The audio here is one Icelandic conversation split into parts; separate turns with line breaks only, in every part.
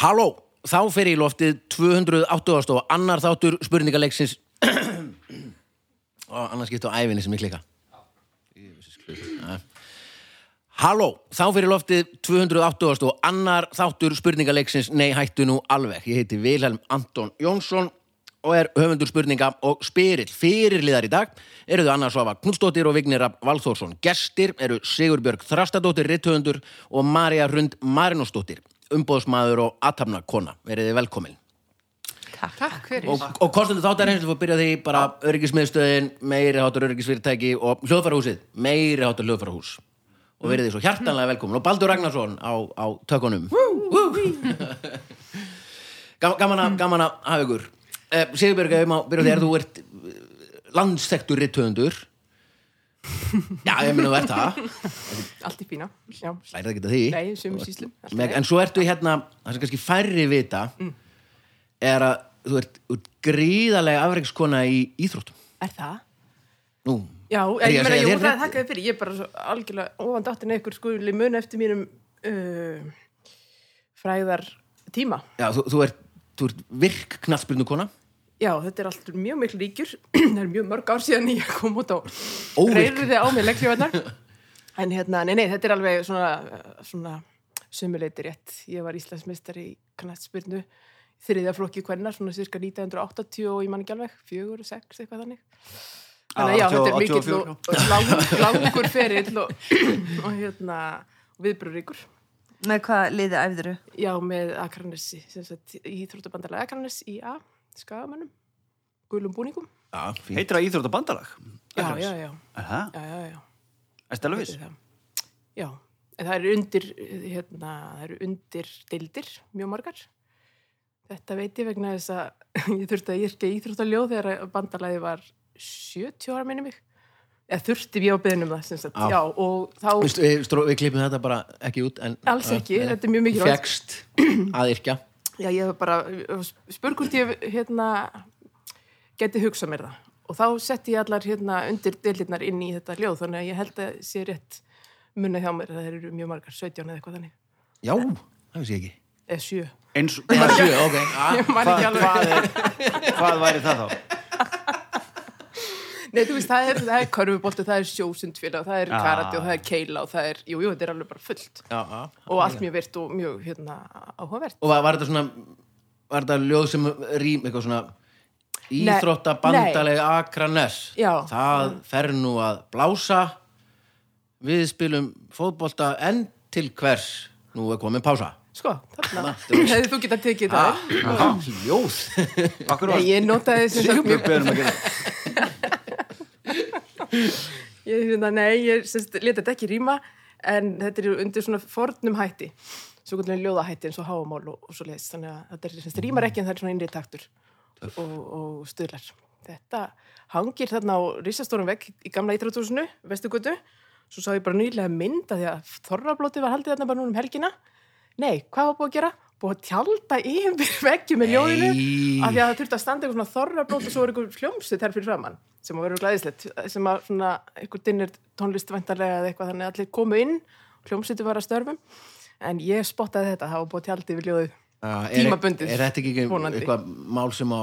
Halló, þá fer í loftið 280 og annar þáttur spurningaleiksins og annars skipt á æfinni sem ég klika Halló, þá fyrir loftið 280 og annar þáttur spurningaleiksins Nei, hættu nú alveg. Ég heiti Vilhelm Anton Jónsson og er höfundur spurninga og spyrill fyrirliðar í dag. Eru þau Anna Svafa Knudsdóttir og Vignir Rapp Valþórsson. Gestir eru Sigurbjörg Þrastadóttir, rithöfundur og Marja Rund Marinósdóttir, umbóðsmaður og athafnakona. Verið þið velkomin.
Takk fyrir.
Og, og kostendur þáttar eins og byrja því bara öryggismiðstöðin, meiri hátur öryggisfyrirtæki og hljóðfærahúsið, meiri hátur hljóðfærahús og verið þið svo hjartanlega velkomin og Baldur Ragnarsson á, á tökunum Woo! Gam- gaman að gaman að hafa ykkur eh, Sigurbjörg, ef ég má byrja á þér þú ert landsektur rithöfundur já, ég meina þú ert það
Allt í fína. Já.
lærið ekki að því
Nei, í sumum sýslum. Allt í
Meg,
lagi.
en svo ertu hérna, það sem kannski færri vita
Mm.
er að þú ert, þú ert gríðarlega afreikskona í íþróttum
Er það?
nú,
Já,
Er ég að
ég, ég meina,
segja
jú,
þér hérna?
það
frétt-
er þakkaði fyrir. Ég er bara svo algjörlega ofan dáttin ykkur skuli mun eftir mínum uh, fræðar tíma.
já, þú, þú, ert, þú ert virk knattspyrnukona
Já, þetta er allt mjög miklu ríkjur. það er mjög mörg ár síðan ég kom út á
Óvirk.
reyðuði á mig leggfjóðarnar. en hérna, nei, nei, þetta er alveg svona, svona sumuleiti rétt. Ég var Íslandsmeistar í knattspyrnu þriðja flokki hvernar, svona cirka 1980 og ég man ekki alveg, fjögur, sex, eitthvað þannig. Þannig að já, þetta er
80 og
mikill og, og lang- langur ferill og, og hérna, viðbröðuríkur.
Með hvað liði æfðuru?
Já, með Akranesi, sem sagt, íþróttabandalega Akranes í A, skagamönnum, gulum búningum.
já, fínt.
Heitir það Íþrótta bandalag?
Já, já, já,
Er það?
já, já, já,
Er það
þetta
alveg viss?
er það. Já, en það eru undir, hérna, það eru undir deildir, mjög margar. Þetta veit ég vegna þess að ég þurfti að yrkja íþróttaljóð þegar bandalagi var 70 ára minni mig. Eða þurfti ég á beðnum það, sem sagt,
Já.
já, og þá...
Veist, Við, stró, við klippum þetta bara ekki út en,
Alls ekki,
Nei, nei.
þetta er mjög mikilvægt.
Fékkst að yrkja
Já, ég hef bara spurgult ég hérna geti hugsað mér það og þá setti ég allar hérna undir deilirnar inn í þetta ljóð þannig að ég held að sé rétt munna hjá mér, það eru mjög margar 17 eða eitthvað þannig,
Já, það vissi ég ekki
eða 7
Eins og...
Það
Hvað,
er sjö, ok ah,
ég man
hvað,
ekki alveg
hvað, er- hvað væri það þá?
Nei, þú veist, það er, það er körfubolti, það er sjósundfélag það er
Ah.
karate og það er keila og það er jú, jú, þetta er alveg bara fullt
já, já.
og allt mjög virt og mjög hérna áhugavert
Og var, var þetta svona Var þetta ljóð sem rým eitthvað svona Íþrótta bandalega Akranes
Já.
Það fer nú að blása Við spilum fótbolta en til hvers Nú er komin pása
Sko, þarna,
Náttúrulega.
hefði þú getað tekið það
ah, Ljóð
Akkur
Nei,
var
ég notaði sem sagt mjög
Sigurbjörg beðum um að gera það.
Ég finna, nei, ég semst, leta þetta ekki rýma en þetta er undir svona fornum hætti svo kvöldlega ljóðahætti eins og háamál og, og svo leiðis, þannig að þetta er, semst, rýmar ekki en það er svona innri taktur og, og stöðlar. Þetta hangir þarna á risastórum vegg í gamla íþróttúsinu, vestugutu svo sá ég bara nýlega mynd að því að þorrablóti var haldið þarna bara núna um helgina nei, hvað var búið að gera? Búið að tjálta yfir veggi með ljóðinu
Nei.
af því að það þurfti að standa eitthvað svona þorrablót og svo var eitthvað hljómsið þær fyrir framann sem að vera glæðislegt, sem að svona eitthvað dinnir tónlist væntarlega eða eitthvað þannig að allir komu inn, hljómsiðu var að störfum en ég spottaði þetta, það var búið að tjálta yfir ljóðið
Ah, er-
tímabundið
Er þetta ekki
vonandi.
eitthvað mál sem á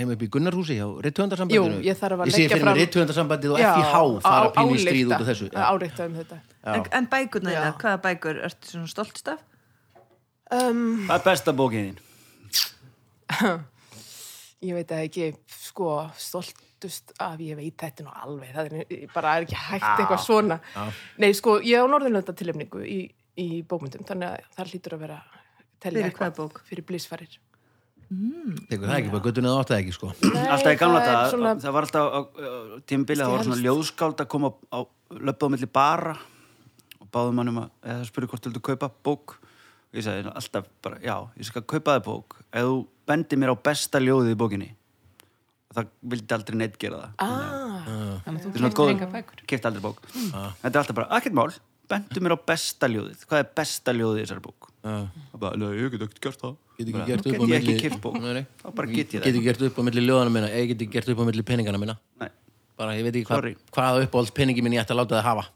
heim upp í Gunnarhúsi hjá rithöfundarsambandinu?
Jú, ég þarf að
Ég sé
leggja
fyrir mér
fram-
rithöfundarsambandið og
Já,
FIH fara
á-
pínu í
álykta-
stríð út af þessu. Já.
Álykta um þetta
En, en bækurna
Já.
þína, hvaða bækur ertu svona stoltst af?
um,
Hvað er besta bókin þín?
Ég veit að ekki, sko, stoltust af ég veit þetta nú alveg, það er bara er ekki hægt eitthvað svona. Nei, sko, ég á norðinlönda tilefningu í, í bókmyndum, þannig að það hlýtur að vera telja
Fyrir hvaða bók?
Fyrir blísfarir.
Tekur það ekki, bara göttun eða áttið ekki, sko.
Alltaf í gamla
það er
dag,
svona-
það var alltaf tímbilið, það var svona
Helst.
ljóðskáld að koma á löpum milli bara og báðum hann um að, eða spurði hvort vildu kaupa bók og ég sagði alltaf bara, já, ég skal kaupa þið bók ef þú bendir mér á besta ljóðið í bókinni og það vildi aldrei neitt gera það
Ah,
Þannig að
Þetta
þú
er
kemur
svona
enga bækur.
góð, kipta aldrei bók
Mm. Ah.
Þetta er alltaf bara, ekkert mál, bentu mér á besta ljóðið Hvað er besta ljóðið í þessari bók? Og bara, "Nei, ég get ekkert gert það
Ah. Get ekki
Bara,
gert
"Nú
upp á
get ég ekki
milli-
kipt bók,
Nei, nei.
þá bara get ég
Get ekki
það
gert upp á milli ljóðana minna, ég get ekki gert upp á milli peningana minna.
Nei.
Bara, ég veit ekki hva,
Sorry.
hvaða uppáhald peningi minn ég ætti að láta það hafa.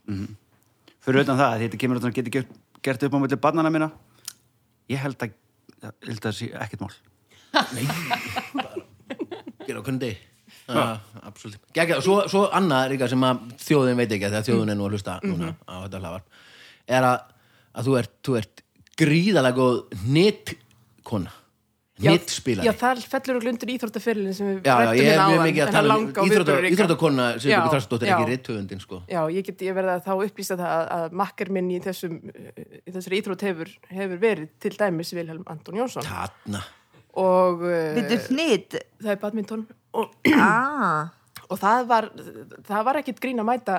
Fyrir utan það, þetta kemur að geta gert, gert upp á milli barnana minna Ég held að ég held að það sé ekkert mál
gera okkur kundi Ah, absolutt Gekka, svo, svo annað Ríka sem að þjóðin veit ekki af því að þjóðin er nú að hlusta núna á þetta hlaðvarp er að, að þú, ert, þú ert gríðalega góð nettkona
Já,
nettspilari
það fellur og glundur íþróttaferilin sem við
já, já,
ræddum
ég er
hérna
mjög
áðan,
mikið
en
að
það er
tala um
langa og
íþrótta-
viðburðaríka.
íþróttakona Sigurbjörg
Já,
Þrastdóttir
já.
ekki rithöfundin sko
Já, ég, get, ég verði að þá upplýsa það að, að makkar minn í, þessum, í þessari íþrótt hefur, hefur verið til dæmis Vilhelm Anton Jónsson
Tatna
og uh,
Vittu hnýtt
það er badminton og,
ah,
og það var, það var ekkit grín að mæta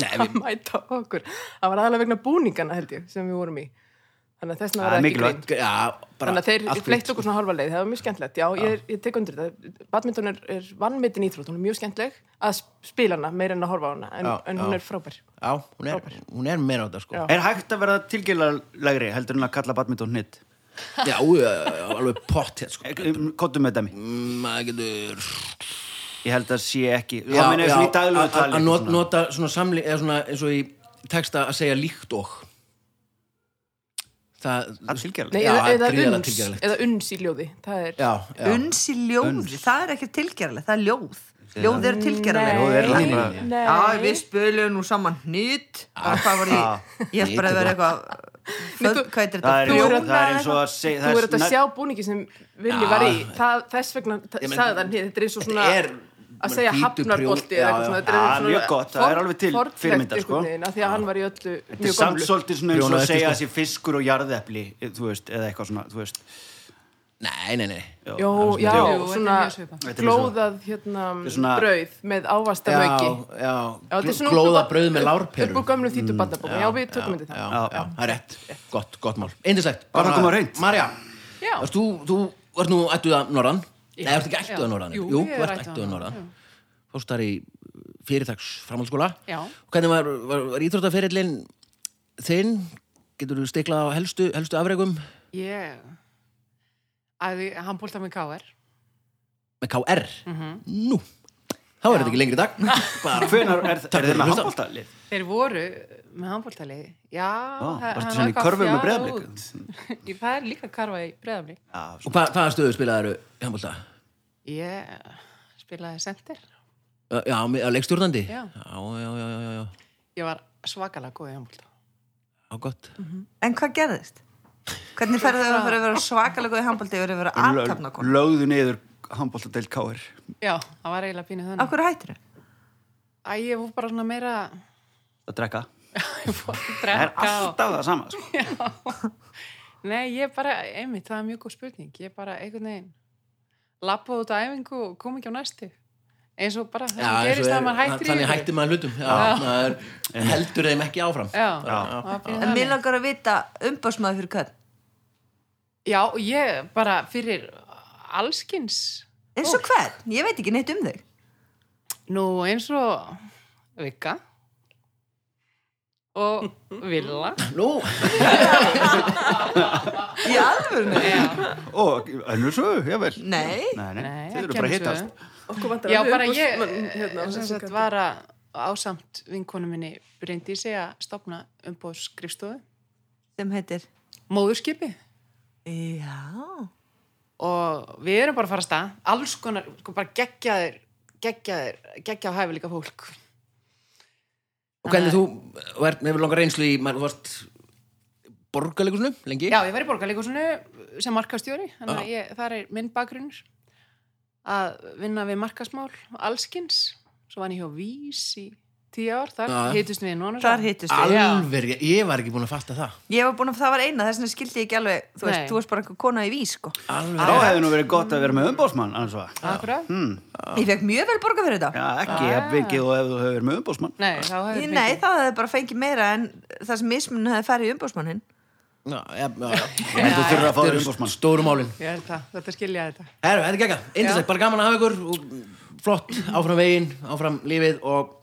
Nei,
að mæta okkur það var aðalega vegna búningana held ég sem við vorum í þannig að þessna
Það
var
er
það ekki
mikilvægt.
grín
við, já, bara
þannig að
allt sko.
þeir fleitt
vill,
okkur svona halva leið það var mjög skemmtilegt, já, Ég, ég tek undir þetta badminton er, er vannmitin íþrótt, hún er mjög skemmtileg að sp- spila hana meira en að horfa á hana en,
Já,
en
já.
hún er frábær
Já, hún er, hún er meira á þetta sko
Já.
Er hægt að verða tilgjölalegri heldur en að kalla badminton hnitt?
Já, já, já, alveg pott hér sko
Kottum Um, með dæmi
Mm, maður getur
Ég held að sé ekki
Já,
Það meina eins og
já,
í daglegu
að-
tali
að not,
svona.
nota svona samli eða svona eins og í texta að segja líkt og það
Það er tilgjölalegri
Nei,
Já,
eða,
það er
eða,
gríðarlega
uns,
tilgerðarlegt.
eða uns í ljóði það er,
já, já,
uns í ljóði, það er ekki tilgerðarlegt, það er ljóð Ljóð eru tilgerðarlegt
Ljóð eru
nei,
tilgerðarlegt.
nei.
Já, við spilum nú saman hnýtt Hvað var ég? Ég hef bara að vera eitthvað föld- Hvað er þetta?
Það er,
Þú
jú,
er að-
það er eins og að segja
Þú er þetta að sjá búningi sem Villi
Já.
var í það, Þess vegna ta-
Ég meina,
sagði hann Þetta er eins og
þetta
svona
er-
að segja
hvítu
hafnarbolti
prjón- já,
eða eitthvað
já.
svona, þetta
Já,
svona
mjög gott, það er alveg til
fornlegt
fyrirmyndar, sko.
einhvern veginn, af Því að hann var í öllu
Þetta er
mjög
samt
gamlu
svolítið svona eins og
Prjóna
að
eftir,
segja
sko.
að sé fiskur og jarðepli Þú veist, eða eitthvað svona Þú veist
nei, nei, nei
já,
Jó,
það er
já,
svona-
Jú, þetta er
svona
mjög svipað.
Þetta er mjög
glóðað hérna
er svona-
brauð með
já,
ávastamauki
já,
Já, þetta er svona upp úr-
glóða brauð með
Upp
lárperum
úr gamlu þýtu bandabóka, já við tökum þetta
já,
það
já, já, það er rétt, gott, gott mál Indislegt,
Bara að koma á hreint.
Marja,
Já.
varst þú, þú ert nú ættuð að Norðan Nei, ertu ekki ættuð
Já.
að Norðan
Jú, ég
þú
er
ert
ættuð að
ættuð að
norðan,
Norðan Fórst þar í fyrirtags framhaldsskóla
Já.
Hvernig var, var, var íþróttaferillin þinn? Getur þú stiklað á helstu, helstu afregum
Ég æði handbólta með KR
með KR? Nú, þá er þetta ekki lengri dag Bara
Hvenar er,
Takk
er þið
fyrir að
með
hlusta.
handbóltalið?
Þeir voru með handbóltaliði Já,
Ah,
það-
Það er
hann
svona í
var eitthvað
körfu með
fjara
breðablik
út. Ég- Það er líka karfa í breðablik
Og hvað, hvaða stöðu spilaðar í handbólta?
Ég spilaði sendir
Já, með- á leikstjórnandi?
Já.
Já, já, já, já, já, já,
Ég var svakalega góð í handbólta
já gott
En hvað gerðist? Hvernig ferðu þau að fara að vera svakalega góð í handbólti yfir að vera aðtapna konu?
Lögðu niður handbóltadeild K.R.
Já, það var eiginlega pínu þannig
Akkur hættir þau?
Æ, ég fór bara svona meira
Að drekka
Ég fór að
Það er
drekka og
alltaf það sama sko.
Nei, ég bara, einmitt, það er mjög góð spurning Ég bara einhvern veginn lappaði út á æfingu og kom ekki á næstu eins og bara það
Já,
sem
eins og
gerist
er-
að maður hættir
Þannig
yfir.
hættir maður hlutum Já, maður heldur þeim ekki áfram
Já,
Já.
það var pínu
En
þannig.
mér langar að vita umbásmaður fyrir hvern.
Já, og ég bara fyrir allskins
Eins og hvern? Ég veit ekki neitt um þau.
Nú eins og Vika og Villa
Nú,
Í alvörinu?
Og önnur svo, jável
Nei.
Nei, nei,
Nei,
þið eru
ekki
bara að
önnur sögu.
hittast
Okkur vantar
Já,
alveg
bara ég
umboðsmann hérna á
sem
þessum
sagt
kanti.
var að ásamt vinkonu minni reyndi ég segja að stopna umbóð skrifstofu,
Sem heitir?
móðurskipi
Já.
og við erum bara að fara að stað alls konar, sko, bara geggjaðir geggjaðir, geggjað hæfileika fólk
og hvernig þú verð, hefur langar reynslu í maður þú varst borgarleikusinu lengi
Já, ég var í borgarleikosinu sem markastjóri þannig að
Já.
ég, þar er minn bakgrunnur að vinna við markasmál allskins, svo vann ég hjá Vís í tíu ár, þar
Já.
hittust við núna
Þar hittust við.
Alveg, ég var ekki búin að fatta það
Ég var búin að það var eina, þess vegna skildi ég ekki alveg, þú veist,
Nei.
þú varst bara einhver kona í vís, sko.
Alveg,
Þá hefði nú verið gott að vera með umbósmann annars var
Akkurat?
Mm.
Ég fekk mjög vel borga fyrir þetta.
Já,
Ah.
ekki, ég byggið og ef þú hefur verið með umbósmann
Nei, þá hefur
Ég, nei, það hefði bara fengið meira en það sem mismunum hefði farið í umbásmannin.
já, já, já
En þú þurfa að fá þér
Þetta er
umbósmann
stóru málin
Ég held það, þetta skilja þetta.
Herru, þetta er gegga, indislegt, bara gaman að hafa ykkur og flott, áfram veginn, áfram lífið og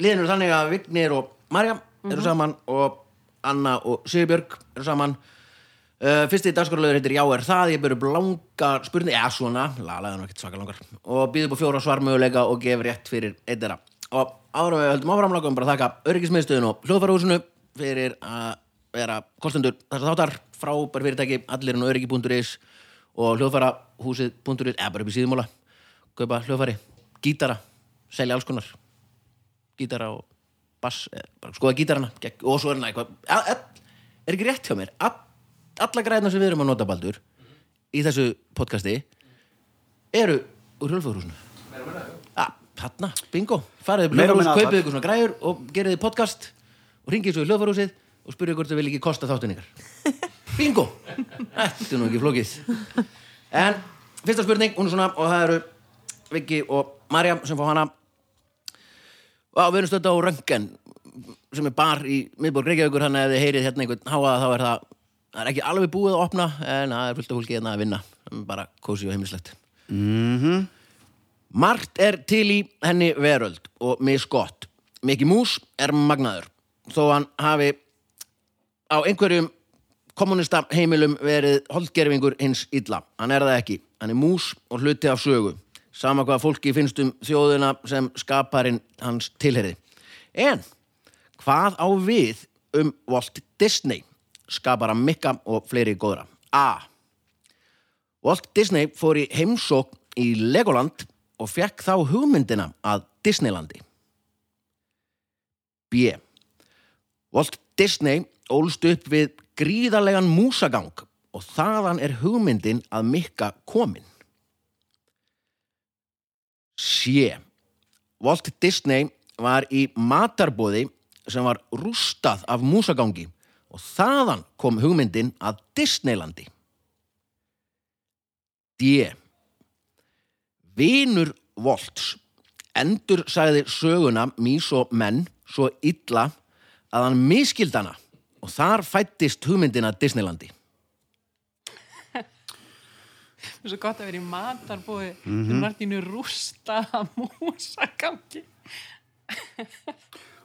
liðin eru þannig að Vignir og Marja eru saman og Anna og Sigurbjörg eru saman uh, Fyrsti dagskorlegur heitir Já er það, ég byrju langar spurning, eða svona, lalaði nú ekkert svaka langar og býður upp á fjóra svarmöguleika og gefur rétt fyrir eitt þeirra og áður en við höldum áfram langum bara að þakka öryggismiðstöðun og hljóðfærahúsinu fyrir að vera kostendur þess að þáttar frábær fyrirtæki allirinn og öryggi.is og hljóðfarahúsið.is eða bara upp í síðumóla kaupa hljóðfari, gítara selja alls konar gítara og bass eh, bara skoða gítarana gegg- og svo er hana eitthvað a- a- er ekki rétt hjá mér a- alla græðina sem við erum að nota baldur í þessu podcasti eru úr hljóðfarahúsinu Hanna, bingo, farið upp í
Meira
hljóðfarahús
og minna
kaupið
allar.
ykkur svona græjur og gerið þið podcast og ringið svo í hljóðfarahúsið og spurðið hvort þau vil ekki kosta þáttun ykkar bingo, þetta er nú ekki flókið en fyrsta spurning, hún er svona og það eru Viki og Marja sem fá hana og við erum stödd á Röngen sem er bar í miðborg Reykjavíkur hann ef þið heyrið hérna einhvern háa þá er það það er ekki alveg búið að opna en það er fullt af fólki hérna að vinna Sem er bara kósi og heimilislegt Margt er til í henni veröld og misgott. Mikki Mús er magnaður þó hann hafi á einhverjum kommunista heimilum verið holdgerfingur hins illa. Hann er það ekki. Hann er mús og hluti af sögu. Sama hvað fólki finnst um þjóðina sem skaparinn hans tilherði. En hvað á við um Walt Disney? Skapara mikka og fleiri góðra. A. Walt Disney fór í heimsókn í Legoland og fekk þá hugmyndina að Disneylandi. B. Walt Disney ólst upp við gríðarlegan músagang og þaðan er hugmyndin að mikka komin. C. Walt Disney var í matarbóði sem var rústað af músagangi og þaðan kom hugmyndin að Disneylandi. D. Vinur Volts endur sagði söguna mís og menn svo illa að hann miskildana og þar fættist hugmyndina Disneylandi.
Það er svo gott að vera í matarbúi mm
Mhm.
-hmm. sem nartínu rústa að músagangi.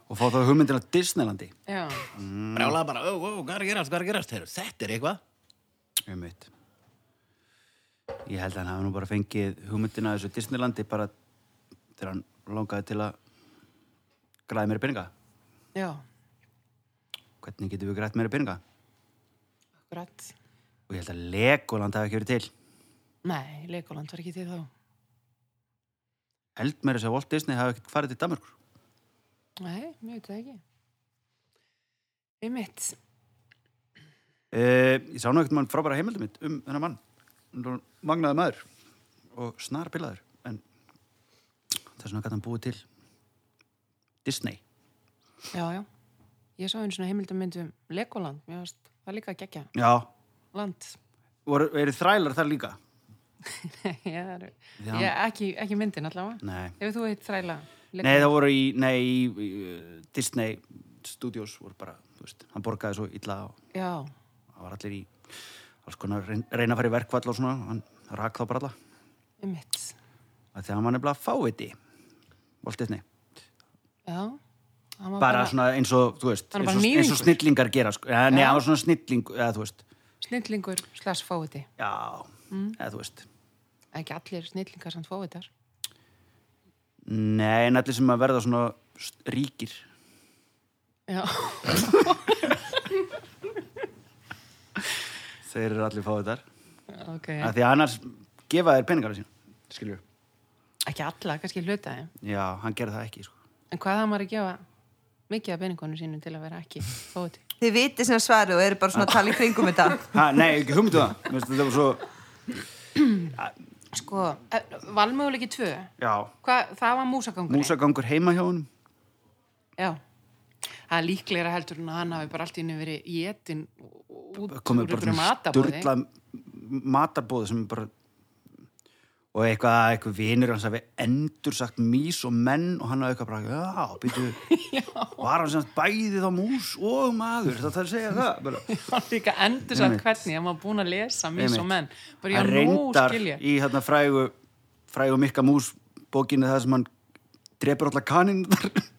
og fá þá hugmyndina Disneylandi
Já,
Mm. Brjálaði bara, ó, ó, hvað er að gerast, hvað er að gerast, heyrðu, þetta er eitthvað.
um mitt ég held að hann hafi nú bara fengið hugmyndina af þessu Disneylandi bara þegar hann langaði til að græða meira peninga
já,
hvernig getum við grætt meira peninga
akkurat.
og ég held að Legoland hafi ekki verið til
Nei, Legoland var ekki til þá.
held meira þess að Walt Disney hafi ekkert farið til Danmarkur
Nei, mjög þetta ekki. Einmitt.
Eh, ég sá nú ekkert mann frábæra heimildum mitt um þennan mann. Hann var Magnaður maður og snar bilaður. En þess vegna gæti hann búið til Disney.
Já, já. Ég sá einu svona heimildamynd um Legoland. Mér varst það líka gegja.
Já,
Land.
voru, eru þrælar þar líka?
ég, það eru,
Já.
ég, ekki, ekki myndin allavega.
Nei.
Ef þú heit þræla. Legoland.
Nei, það voru í, nei, í, í eh, Disney Studios voru bara, þú veist, hann borgaði svo illa og
Já,
það var allir í alls konar reyn- reyna að fara í verkvall og svona, hann rak þá bara alla.
einmitt.
Þegar hann var nefnilega fáviti, Walt Disney.
Já. Hann var
bara svona eins og, þú veist,
Hann var
eins
bara
og, eins og
níðingur.
snillingar gera, sko. Ja, nei, hann var svona snilling, eða þú veist,
Snillingur slags fóviti.
já,
Mm.
eða þú veist.
Ekki allir snillingar samt fóvitar.
Nei, en allir sem að verða svona s- ríkir.
Já.
Þeir eru allir fáið þar.
ok.
Yeah. Því að annars gefa þeir peningar sín, skilju.
Ekki alla, kannski hluta þeim.
Já, hann gerði það ekki, sko.
En hvað það maður að gefa mikið af peningunum sínum til að vera ekki fóviti?
Þið vitið sem svarið og eru bara svona að tala í kringum þetta.
Ha, nei, ekki humdu það. Mér finnst þetta var svo,
Sko, eh, valmöguleiki tvö.
já,
Hvað, það var músagangur.
músagangur heima hjá honum.
Já. Það er líklegra heldur en að hann hafi bara allt í henni verið étin út
Komið bara
einhverju
svona
matabóði.
sturla matarbóði sem bara og eitthvað, eitthvað vinur hans hafi endur sagt mís og menn og hann hafi eitthvað bara, já, býtu var hann semst bæði þá mús og maður, það þarf að segja það bara.
Það líka endur samt hvernig, hann var búin að lesa mís og
Einmitt.
menn. Bara
hann
ég að nú
reyndar
skilja.
í hérna frægu frægu mikka mús bókinu það sem hann drepur alla kaninn það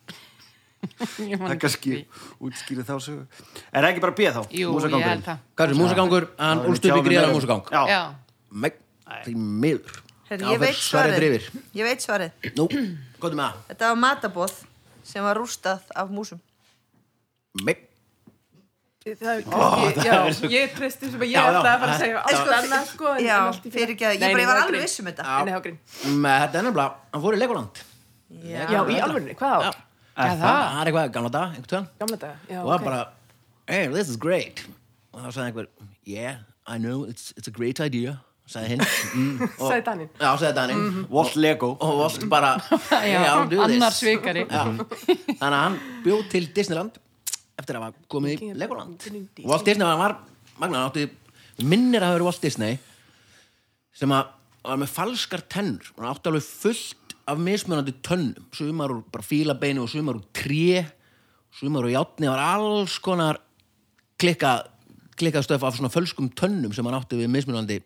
Ég man
er kannski
ekki.
útskýrið þá sögu er það ekki bara bíð þá,
Jú, ég held það.
Hvað er músagangur? Hann
Já,
úlst upp í
tjáum við
gríðara
meira um-
músagang.
Já.
Já,
Meg, því miður.
Herri,
Já, fer
ég veit
svarið
svarið.
yfir.
Ég veit svarið.
Nú, um hvað er með það?
Þetta var matabóð sem var rústað af músum.
Meg,
það er kannski, já, ég treysti sem að ég
Já, já,
ætlaði að fara að
já.
segja
En
allt annað, sko, en-
já,
en allt í fyrir.
fyrir ekki að,
Nei,
ég bara
nei,
ég var
það er
alveg
grín.
viss um þetta.
Nei, það var grín.
Mm, Þetta er nefnilega, hann fór í Legoland
Já, í alvörinu, hvað ár?
Já, það er eitthvað gamla dag, einhvern tjóðan
Gamla daga, já,
og það
ok.
bara, hey, this is great og þá sagði einhver, yeah, I know it's, it's a great idea sagði hinn mm. og-
Sagði Daninn.
já, sagði Daninn
Walt Lego
og Walt bara,
Já,
uh, yeah, I'll do this
annar svikari.
já. Mhm. þannig að hann bjó til Disneyland eftir að hafa komið í Legoland Walt Disney var, var magna, hann átti minnir að hafa verið Walt Disney sem að var með falskar tennur og hann átti alveg fullt af mismunandi tönnum sumar úr bara fílabeinu og sumar úr tré sumar úr játni var alls konar klikka, klikka stöf af svona fölskum tönnum sem hann átti við mismunandi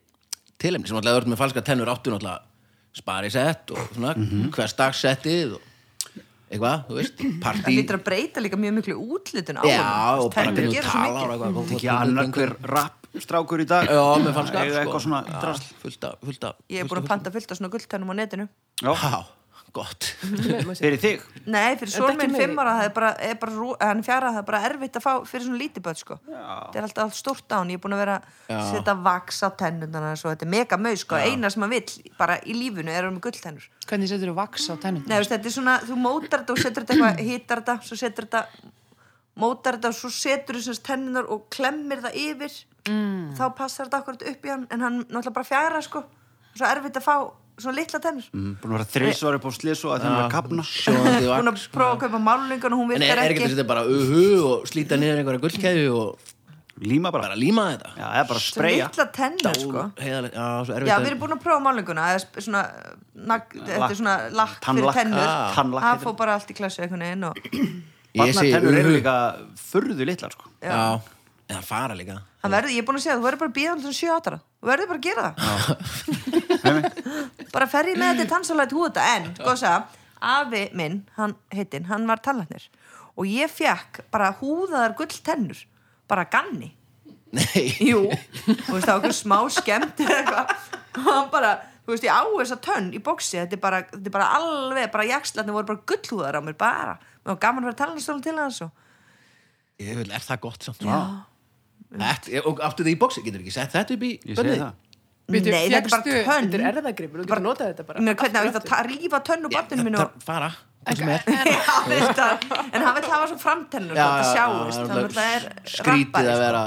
tilemni sem alltaf öll með falskar tennur áttu náttúrulega sparisett og svona mm hversdagssettið og eitthvað, þú veist,
Mhm. Það
partí
hlýtur að breyta líka mjög miklu útlitun á
Já,
honum.
og bara
Tennur
hvernig þú
gera svo mikið.
talar og eitthvað
Þetta ekki annar hver rappstrákur í dag
Já, mér fannst það
Eiga
sko.
eitthvað svona
Já,
drasl
Fullt af, fullt af
Ég er búin að panta fullt af svona gulltennum á netinu.
Já,
Há, gott
fyrir þig
Nei, fyrir
Þetta
son
ekki
minn
meiri.
fimm ára, það er bara, er bara rú- eh, hann fjara, það er bara erfitt að fá fyrir svona lítið börn, sko. Það er alltaf allt stórt á hann, ég er búin að vera að setja vaks á tennundana, svo þetta er mega mög, sko. Eina sem hann vill, bara í lífinu, er hann með gulltennur.
Hvernig setur þú vaks á tennum?
Nei, veist, þetta er svona, þú mótar þetta og setur þetta eitthvað, hýtar þetta, svo setur þetta, mótar þetta og svo setur þessast tennunar og klemmir það yfir, mm. þá passar þetta akkurat upp í hann, en hann náttúrulega bara fjara, sko. Svo erfitt að fá svona litla tennur.
Mm, Búin að vera þrisvar upp á slisu að þeim var að kapna
Sjóðandi
Búin að
vaks
prófa að kaupa málingun og hún
sko. En er,
virkar
er ekki
ekki.
þetta bara uhu og slíta niður einhverja gullkeðju og
Líma bara
bara líma þetta
Já, eða bara
Svo
spreja
litla tennur, sko.
Heiðarlega, já, svo erfitt
Já,
að-
við erum búin að prófa málinguna eða sp- svona, nag, þetta er svona lakk fyrir
Tannlakk.
tennur
Ah. Tannlakk
það
heitir
fór bara allt í klassu einhvern veginn og
Ég segi
Barnatennur eru
uhu.
líka furðu litlar sko
Já, en það fara líka
hann verður, ég er búin að segja, þú verður bara að bíða um 7 átara, þú verður bara að gera það bara ferði með þetta tannsálætt húta, en, góðsa afi minn, hann heitinn, hann var tannlæknir og ég fekk bara húðaðar gull tennur bara að ganni
Nei,
Jú, þú veist það var okkur smá skemmt eða eitthvað og hann bara, þú veist ég á þessa tönn í bóksi þetta er bara, þetta er bara alveg, bara jakslarnir voru bara gullhúðar á mér, bara og gaman að vera talanstólum til hans og
ég vil, er það gott samt Já Þetta, ég- og áttu þið í boxi, getur ekki sett þetta upp í
Ég segi
bönnið?
það
Nei,
Bíddu,
þetta er bara
fékkstu-
tönn
Þetta er
Ég
erðagripur, þú getur notað þetta bara.
meina, hvernig á ég
aftur og
það að ta- rífa tönn úr barninu mínu og
Þetta fara, hvað sem er
Já, veist það, en hann vil hafa svo framtennur
Já,
sko, þetta
já,
sjáist,
já,
þannig að það er
Skrítið
rappari,
að
sko.
vera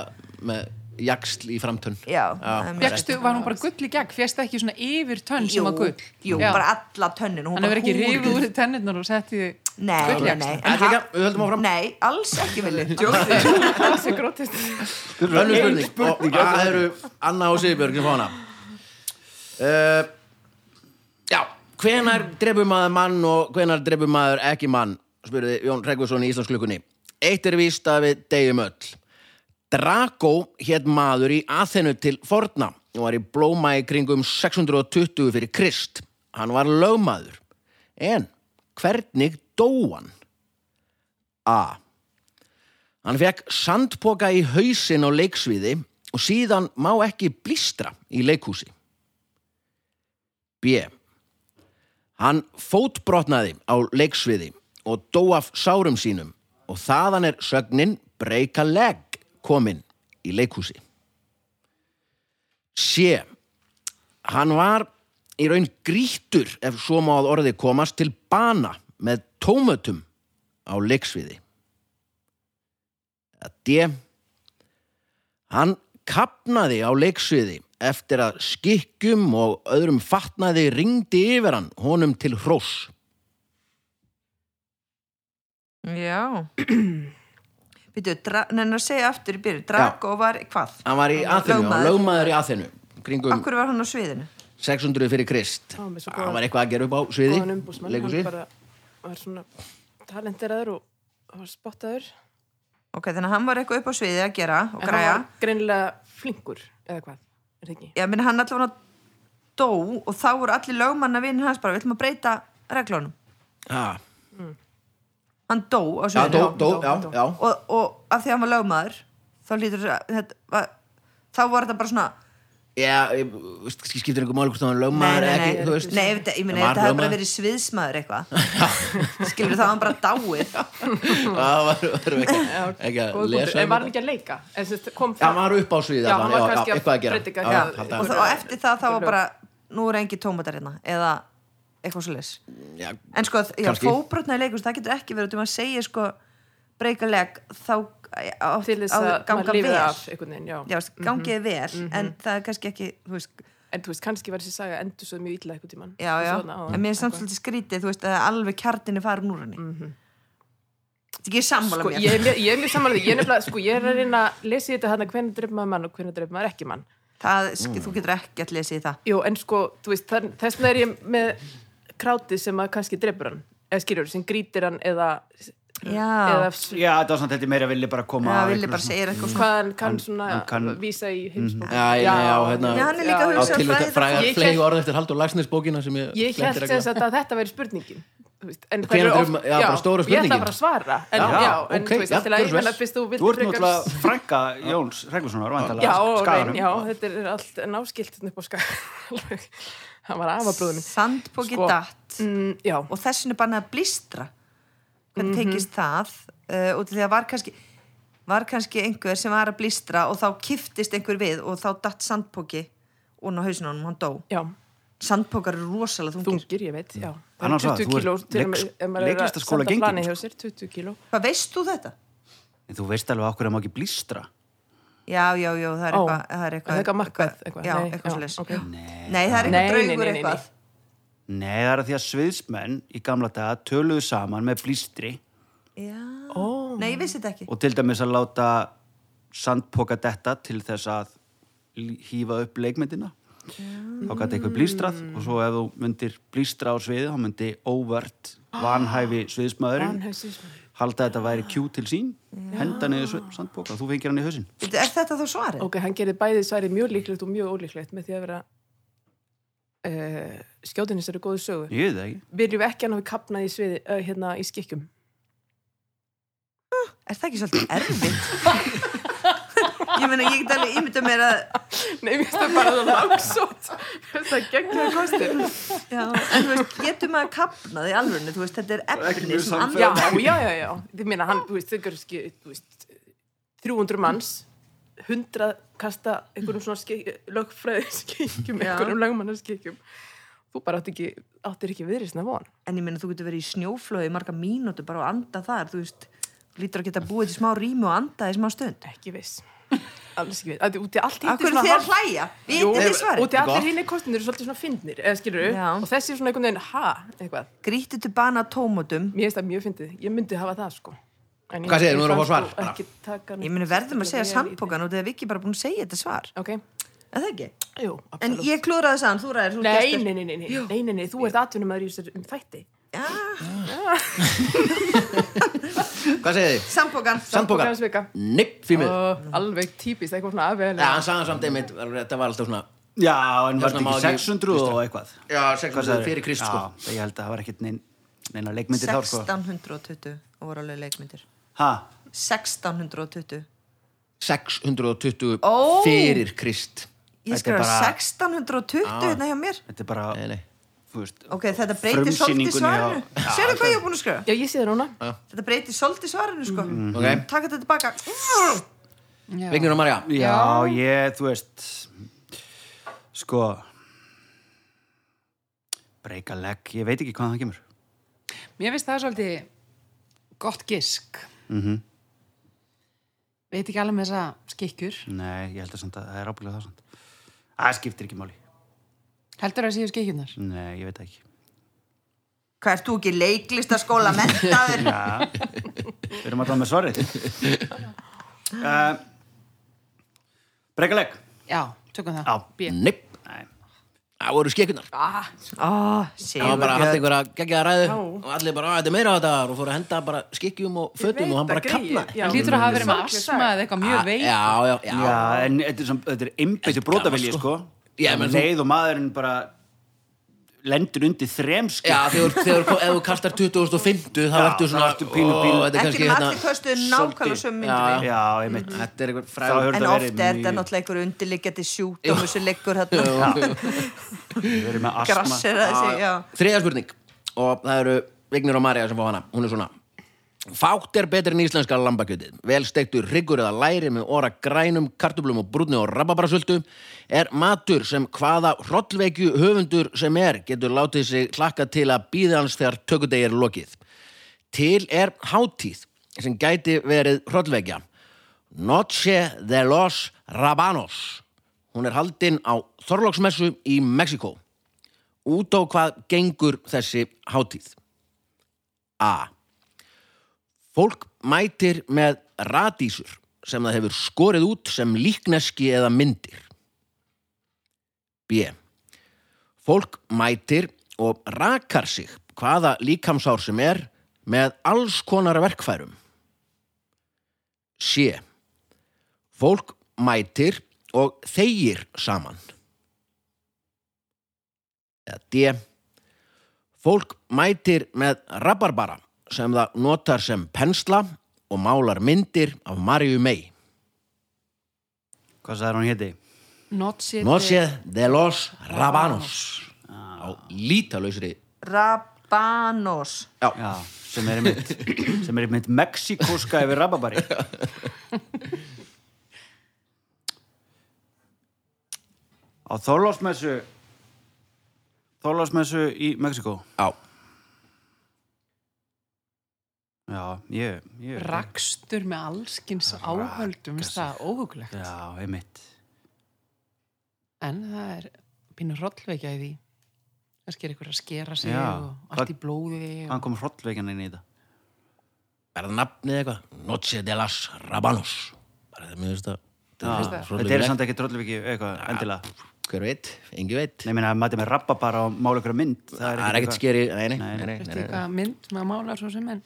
með jaksl í framtönn
Já, það er mjög
Fjöxtu, var hún bara gull í gegn? Fjöxtu ekki svona yfir tönn
sko.
sem
Jú,
var gull?
jú,
Já.
bara alla tönnin hún
Hann
bara
hefur ekki
húðuð.
rifið úr tennirnar og settið
Nei, nei,
Gulljaxl.
nei
En líka, við höldum áfram.
Nei, alls ekki villi
aftur. Það er svo grótist.
Önnur spurning, og það eru Anna og Sigurbjörg sem fá hana uh, Já, hvenar drefur maður mann og hvenar drefur maður ekki mann spurði Jón Reggvason í Íslandsklukkunni Eitt er víst að við deyjum öll Drago hétt maður í Aþenu til forna og var í blóma í kringum 620 fyrir Krist Hann var lögmaður En hvernig dó hann? A. Hann fekk sandpoka í hausin á leiksviði og síðan má ekki blístra í leikhúsi. B. Hann fótbrotnaði á leiksviði og dó af sárum sínum og þaðan er sögnin breyka legg komin í leikhúsi. C. Hann var í raun grýttur ef svo má að orði komast til bana með tómötum á leiksviði að D. Hann kapnaði á leiksviði eftir að skikkjum og öðrum fatnaði ringdi yfir hann honum til hrós.
Já Býtu, nennar að segja aftur í byrju Drago var hvað?
Hann var í Aþenu, hann var lögmaður í Aþenu, kringum
Akkur var hann á sviðinu?
600 fyrir Krist.
Hann var með svo góðan-
Hann var eitthvað að gera upp á sviði,
Góðan umbúsmann,
leikhúsi.
hann bara var svona talenteraður og og var spottaður.
Ok, þannig að hann var eitthvað upp á sviði að gera
En
og
hann
græja
var greinilega flinkur, eða hvað, er það ekki?
Já, minn hann allavega dó og þá voru allir lögmanna vinir hans bara, við ætlum að breyta reglunum
Já,
Hann dó á
já, dó,
sviðinu
dó,
dó,
já,
dó.
já.
og, og af því að hann var lögmaður þá lítur þess að þetta var, þá var þetta bara svona
Já, ég- veist, kannski skiptir einhver máli hvort það var
Nei,
lögmaður
nei,
eða
nei,
ekki, þú veist
nei, ef þetta- ég meina, ef
Hann var
þetta hefði bara
lögmaður.
verið sviðsmaður eitthvað skilur það hann bara dáið
Það var, var ekki, ekki að
Góður punktur.
lesa um
En var hann
þetta.
ekki að leika? En sem sagt, kom
Já,
það-
hann var upp á sviðið
Já,
allan,
hann var
já,
kannski
já,
að
eitthvað að gera.
predika,
Já,
já,
já, þetta-
og, það, og eftir það þá var bara nú eru engi tómatar hérna eða eitthvað svo leis
Já,
en sko, já,
Kannski.
fóbrotna í leikus það getur ekki verið út um að segja sko breyka leg þá á,
til þess
á-
að
ganga
maður
vel
lifið
já,
af Mhm. einhvern veginn, já.
veist, gangi vel en það er kannski ekki þú veist,
En þú veist, kannski var þessi saga endur svo mjög illa einhvern tímann.
já,
Ég
já,
sá hana áðan.
en mér er samt svolítið skrítið þú veist, að alveg kjartinni farin úr henni mm -hmm. þetta er ekki sammála
Mhm. Sko,
mér
ég er mjög- ég er mjög samanlega, ég er nefnilega, sko, ég er að reyna að lesa í þetta hann að hvernig dreif maður mann og hvernig dreif maður ekki mann.
það, mm. þú getur ekki að lesa í það
Jú, en sko, þú veist, þar, þess vegna er ég með krátið sem að kannski dreipur hann, eða skýrur, sem grítir hann eða,
já,
eða s-
Já, þetta var samt þetta er meira villi bara koma
það
af
vilja
einhverju
bara
svona-
segja eitthvað svona
hvað hann kann svona
hann kann-
vísa í heimsbók.
Mhm. Já, já, já, hérna-
Já, hann er líka að
á
hugsa um
tilvita
fræði-
frægar
Ég
flegi
hélt-
orð eftir Haldur Lagsnes bókina sem ég
Ég
gleymdi
held
reglulega.
sem sagt að þetta veri spurningin Þú veist, en
Hvenær
hverju
dreif ma- já, bara stóra
Ég ætla
spurningin.
bara að svara En,
Já,
já, en
ok,
þú veist,
já,
alltaf að
gjörðu
ég
svo
menna
vel.
fyrst þú vilt
Þú ert náttúrulega frænka Jóns Reglussonar, væntalega
Já, og reyn, já, þetta er allt náskilt upp á skar Alveg. Hann var afabróðum minn
sandpóki
Sko.
datt
mm, Já,
og þessinu bannað að blístra
Mhm.
hvernig tekist það uh, út af því að var kannski var kannski einhver sem var að blístra og þá kiftist einhver við og þá datt sandpóki og á hausinu á honum, hann dó
já,
sandpókar eru rosalega þungir
þungir, ég veit já. Það
Hann á
er 20
það, þú ert
kíló til og með
leiks-
ef maður er að
leiklistarskóla
senda
gengin,
plani hjá
sko.
sér 20 kíló
hvað veist þú þetta?
En þú veist alveg okkur að maður ekki blístra
já, já, já, það
Ó,
er eitthvað það er
er eitthvað makkað,
eitthvað,
eitthvað,
já,
nei,
eitthvað
já,
já,
ok.
nei, það er
Nei,
eitthvað
nei, nei,
draugur
nei, nei.
eitthvað
Nei, það er að því að sviðsmenn í gamla daga töluðu saman með blístri
já,
Ó.
nei, ég vissi þetta ekki
og til dæmis að láta sandpoka detta til þess að l- hífa upp leikmyndina þá gæti eitthvað blístrað og svo ef þú myndir blístra á sviði þá myndi óvart vanhæfi sviðsmaðurinn
Ok,
halda að þetta
Ah.
væri kjú til sín henda niður svi- sandpoka og þú fengir hann í hausinn
Bíddu, er þetta þá svarið?
hann gerði bæði svarið mjög líklegt og mjög ólíklegt með því að vera uh, skjótinins eru góðu sögu
ég veit það ekki
viljum ekki að hann hafi kapnað í sviði uh, hérna í skikkjum
er það ekki svolítið erfitt? ég meina, ég get alveg ímynda mér að
Nei, mér finnst það bara það langsótt Það gegnja kostir
Já, en þú veist, getur maður kapnað í alvörinu, þú veist, þetta er
ekki
efni
mjög
sem
Já,
andra
já, já, já Þið meina, hann, þú veist, þau kannski þú veist, 300 manns 100 kasta einhverjum svona skik, lögfræði skikjum
Já.
einhverjum lögmannar skikjum Þú bara átt ekki, áttir ekki viðrisna von
En ég meina, þú getur verið í snjóflöðu í marga mínútu bara og anda þar, þú veist, þú lítur að geta búið til smá rými og anda í smá stund.
Ekki viss Alls ekki viss Það er út í allt hitt er
Akkur
svona
þið að
hálf-
hlæja? Við
Jú,
erum þið
út
svarið.
í allir hinn kostinir eru svolítið svona fyndnir eða skilur
Já.
og þessi er svona einhvern veginn ha, eitthvað
Grítið til bana tómatum.
Mér finnst það mjög fyndið, ég myndi hafa það sko En ég-
Hvað segir,
ég
nú erum við að fá
kann,
svar,
sko,
bara.
ekki taka neitt
Ég meina, verðum að segja
sérstaklega vel í
sandpokan og það er ekki bara búin að segja þetta svar.
því. Ok,
Er það ekki?
jú,
En
absolutt
ég klúraði þessan, þú ræðir, þú
Nei,
gestur.
nei, nei, nei, nei, nei, nei, nei, þú ert atvinnumæður í þessari um þætti.
Já,
Hvað segið þið? Sandbókar?
sandpokan.
Sandpokarnsvika.
Nei, fyrir mig
Uh, alveg típist, eitthvað svona
Já,
afvegilega.
hann sagði hann samt einmitt, þetta var alltaf svona
já, en var
svona
þetta
má
ekki
ekki
600 og eitthvað
Já,
Hvað
600
sagðirðu?
fyrir Krist, sko
Já, ég held að það var ekkit nein, neina leikmyndir þá sko
1620 og voru alveg leikmyndir.
ha,
1620.
620
Ó.
fyrir Krist
Þetta
Ég
er
skrifaði
bara-
1620 hérna hjá mér.
þetta er bara
Nei, nei
þú veist
Ok, þetta breytir svolítið
frumsýningunni á-
svarinu.
Já,
Sérðu hvað ég er búin að skrifa?
Já, ég sé það núna.
Þetta breytir svolítið svarinu, sko. Mm.
Ok.
Takk þetta tilbaka.
Vignur og Marja
Já, ég, þú veist Sko Breika legg, ég veit ekki hvað það kemur
Mér finnst það svolítið gott gisk. Mm
Mhm.
Veit ekki alveg með þessa skikkjur.
Nei, ég held að samt að það er ábyggilega það samt Það skiptir ekki máli
Heldur það að séu skikkjurnar?
Nei, ég veit það ekki
Hvað ert þú ekki leiklistaskóla mentaður?
Já, við erum alltaf með svarið uh, Breika legg
Já, tökum það.
Já.
B.
Nei,
Nei,
það voru skekunar
Ah,
Ó,
Það var bara að halda
Sigurbjörn.
einhverja geggjaða ræðu og allir bara, "Á, þetta er meira á þetta og fóru að henda bara skikkjum og fötum og hann bara kapnaði
Það lítur að hafa verið með asma eða eitthvað mjög veik.
Já, já, já,
Ah, já, en þetta er, samt- þetta er einbyttu
gaman,
brotavilji,
sko.
sko
Já, menn þú-
Leið og maðurinn bara lendur undir sko. þremski
Já, þegar, þegar ef þú kastar 2050 þá
Já,
ertu svona
þá ertu pínu-
ó,
pínu-
þetta er
Eftir
kannski
um
hérna
allir köstuðu nákvæmlega sömu myndinni.
já, einmitt
Þetta er eitthvað
Þá
frægur
hefur-
En
þetta
oft
verið
er þetta
mjög-
náttúrulega einhver undirliggjandi sjúkdómur sem liggur hérna,
við erum með astma
grassera sig, já.
Þriða spurning og það eru Vignir og Marja sem fá hana Hún er svona Fátt er betur en íslenska lambakjötið. Vel steiktur hryggur eða læri með óra grænum, kartublum og brúnni og rababarasöldu er matur sem hvaða hrollveikju höfundur sem er getur látið sig hlakka til að býða hans þegar tökudegi er lokið. Til er hátíð sem gæti verið hrollveikja. Noche de los Rabanos. Hún er haldin á Þorlóksmessu í Mexiko. Út á hvað gengur þessi hátíð? A. Fólk mætir með radísur sem það hefur skorið út sem líkneski eða myndir. B. Fólk mætir og rakar sig hvaða líkamsár sem er með alls konar verkfærum. C. Fólk mætir og þeir saman. Eða D. Fólk mætir með rabarbara sem það notar sem pensla og málar myndir af Mariu May.
hvað sagði hún héti?
Notsi
Noce de los Rabanos.
Ah.
Á lítalausri.
Rabanos.
já, sem er einmitt sem er einmitt mexikóska yfir rababari á Þorlásmessu Þorlásmessu í Mexiko
Á.
já, ég, ég
Rakstur með allskins áhöldum Mér finnst það óhugulegt
já, einmitt
En það er pínur hrollveikja í því Kannski er ykkur að skera sig
Já.
og allt í blóði og...
hann kom hrollveikan inn í þetta
Er það nafnið eitthvað? Noce de los Rabanos. Bara það mjög veist að...
finnst það-
Ah. þetta er samt ekki tröllviki eitthvað endilega
Hver veit? Engi veit.
Nei, minna, ef maður mæti með rappa bara og mála ykkur mynd
Það er ekkert skeri. Nei, nei,
Nei,
nei. nei,
Veistu
nei, nei.
hvað mynd maður málar svo sem en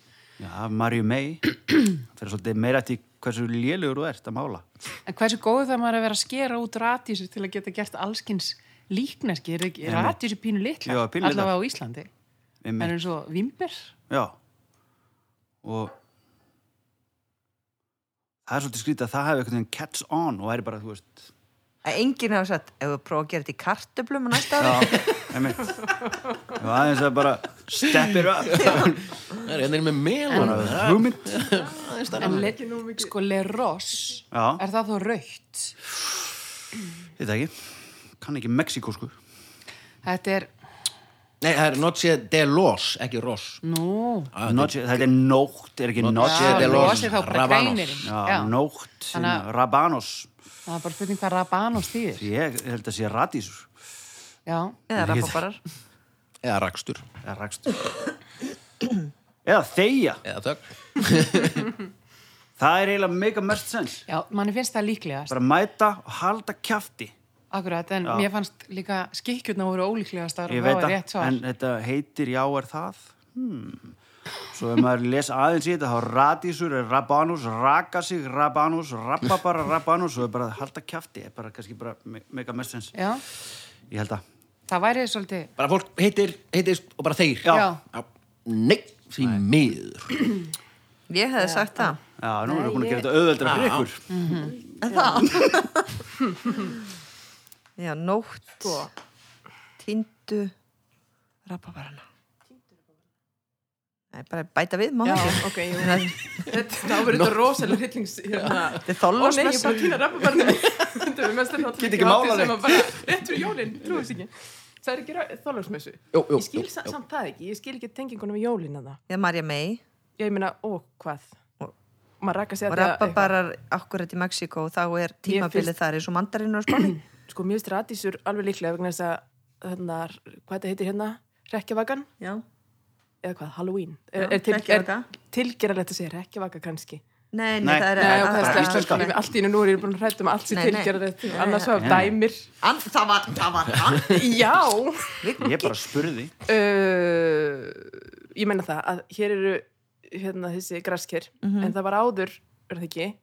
Já, Marju May Það er svolítið meira til hversu lélugur þú ert að mála
En hversu góð það maður að vera að skera út radísu til að geta gert allskins líkneski Er ekki
Einmitt.
radísu pínu litla?
Já, pínu litlar.
Allavega á Íslandi En
Einmitt.
eins og vimber
Já Og Það er svolítið skrítið að það hefði einhvern veginn catch on og væri bara, þú veist
Að enginn hafa sagt, ef við prófa að gera þetta í kartöflum á næsta ári.
Já, einmitt Og aðeins að bara step it up
Það er hérna með melónu.
Hugmynd
En le, sko leros
Já.
Er það þó raukt?
Þetta ekki, kann ekki Mexiko sko
Þetta er,
Nei, það er Noce de los, ekki ros.
nú
Noche, Þetta er nótt, er ekki Ah, Noche
Já,
de
Los
los
er þá bara
Rabanos.
greinirinn.
Já, nótt,
Þannig að-
Rabanos
Það er bara spurning hvað Rabanos þýðir.
Ég held að sé radísur
Já,
Eða rababarar.
Eða rakstur.
eða rakstur eða þeia
Eða þögn.
það er eiginlega mega mest sens
já, manni finnst það líklegast.
bara mæta og halda kjafti
Akkurat, en mér fannst líka skikkjurna voru ólíklegastar
ég
og það
veit
var rétt
það,
svar.
en þetta heitir já er það hmm. svo ef maður les aðeins í þetta þá radísur er rabanus, raka sig rabanus, rababara rabanus og er bara halda kjafti er bara kannski bara me- mega mest sens
Já,
ég held að
það væri svolítið,
bara fólk heitir, heitist og bara þeir
Já. Já.
nei, því miður
Ég hefði sagt það.
já, nú erum við búin að gera þetta auðveldra fyrir ykkur
Já, nótt
Sko.
Tindu Rababarana Nei, bara bæta við, má
Já,
það ekki
ok, jú. Þetta- þá verður þetta rosalega hryllings hérna. Ó nei, ég
Þetta er þorlásmess
bara týna rababarnum Þetta er mest að
Get ekki málað
sem að bara rétt fyrir jólinn, trúið sér ekki Það er ekki þorlásmessu
Jú, jú,
Ég skil
jú,
sa-
jú.
samt það ekki, ég skil ekki tengingunum við jólinn að það
Já, Marja May
Já, ég meina, ó, hvað?
Og-
Maður rakka sér
og rababarar akkurat í Mexíkó þá er tímabilið
finnst-
þar eins og mandarinu og spáni
Sko, mér finnst radísur alveg líklega vegna þess að, hérna, hvað þetta heitir hérna? Rekkjavagan?
Já,
Eða hvað, Halloween? Er,
Já,
er, til,
hrekkjavaka.
er tilgerðalegt að segja rekkjavaga kannski?
nei, nei,
Nei.
það er
Nei, og
að-
það
að-
er
íslenska.
íslenska. Allt í einu nú er ég búin að hrættum allt sem
Nei, nei.
tilgerðalegt,
Nei,
annars var
nei.
dæmir.
An, Það var, það var hann
Já!
ég bara spurði
uh, ég
Mhm.
menna það að hér eru hérna þessi grasker en það var áður, er það ekki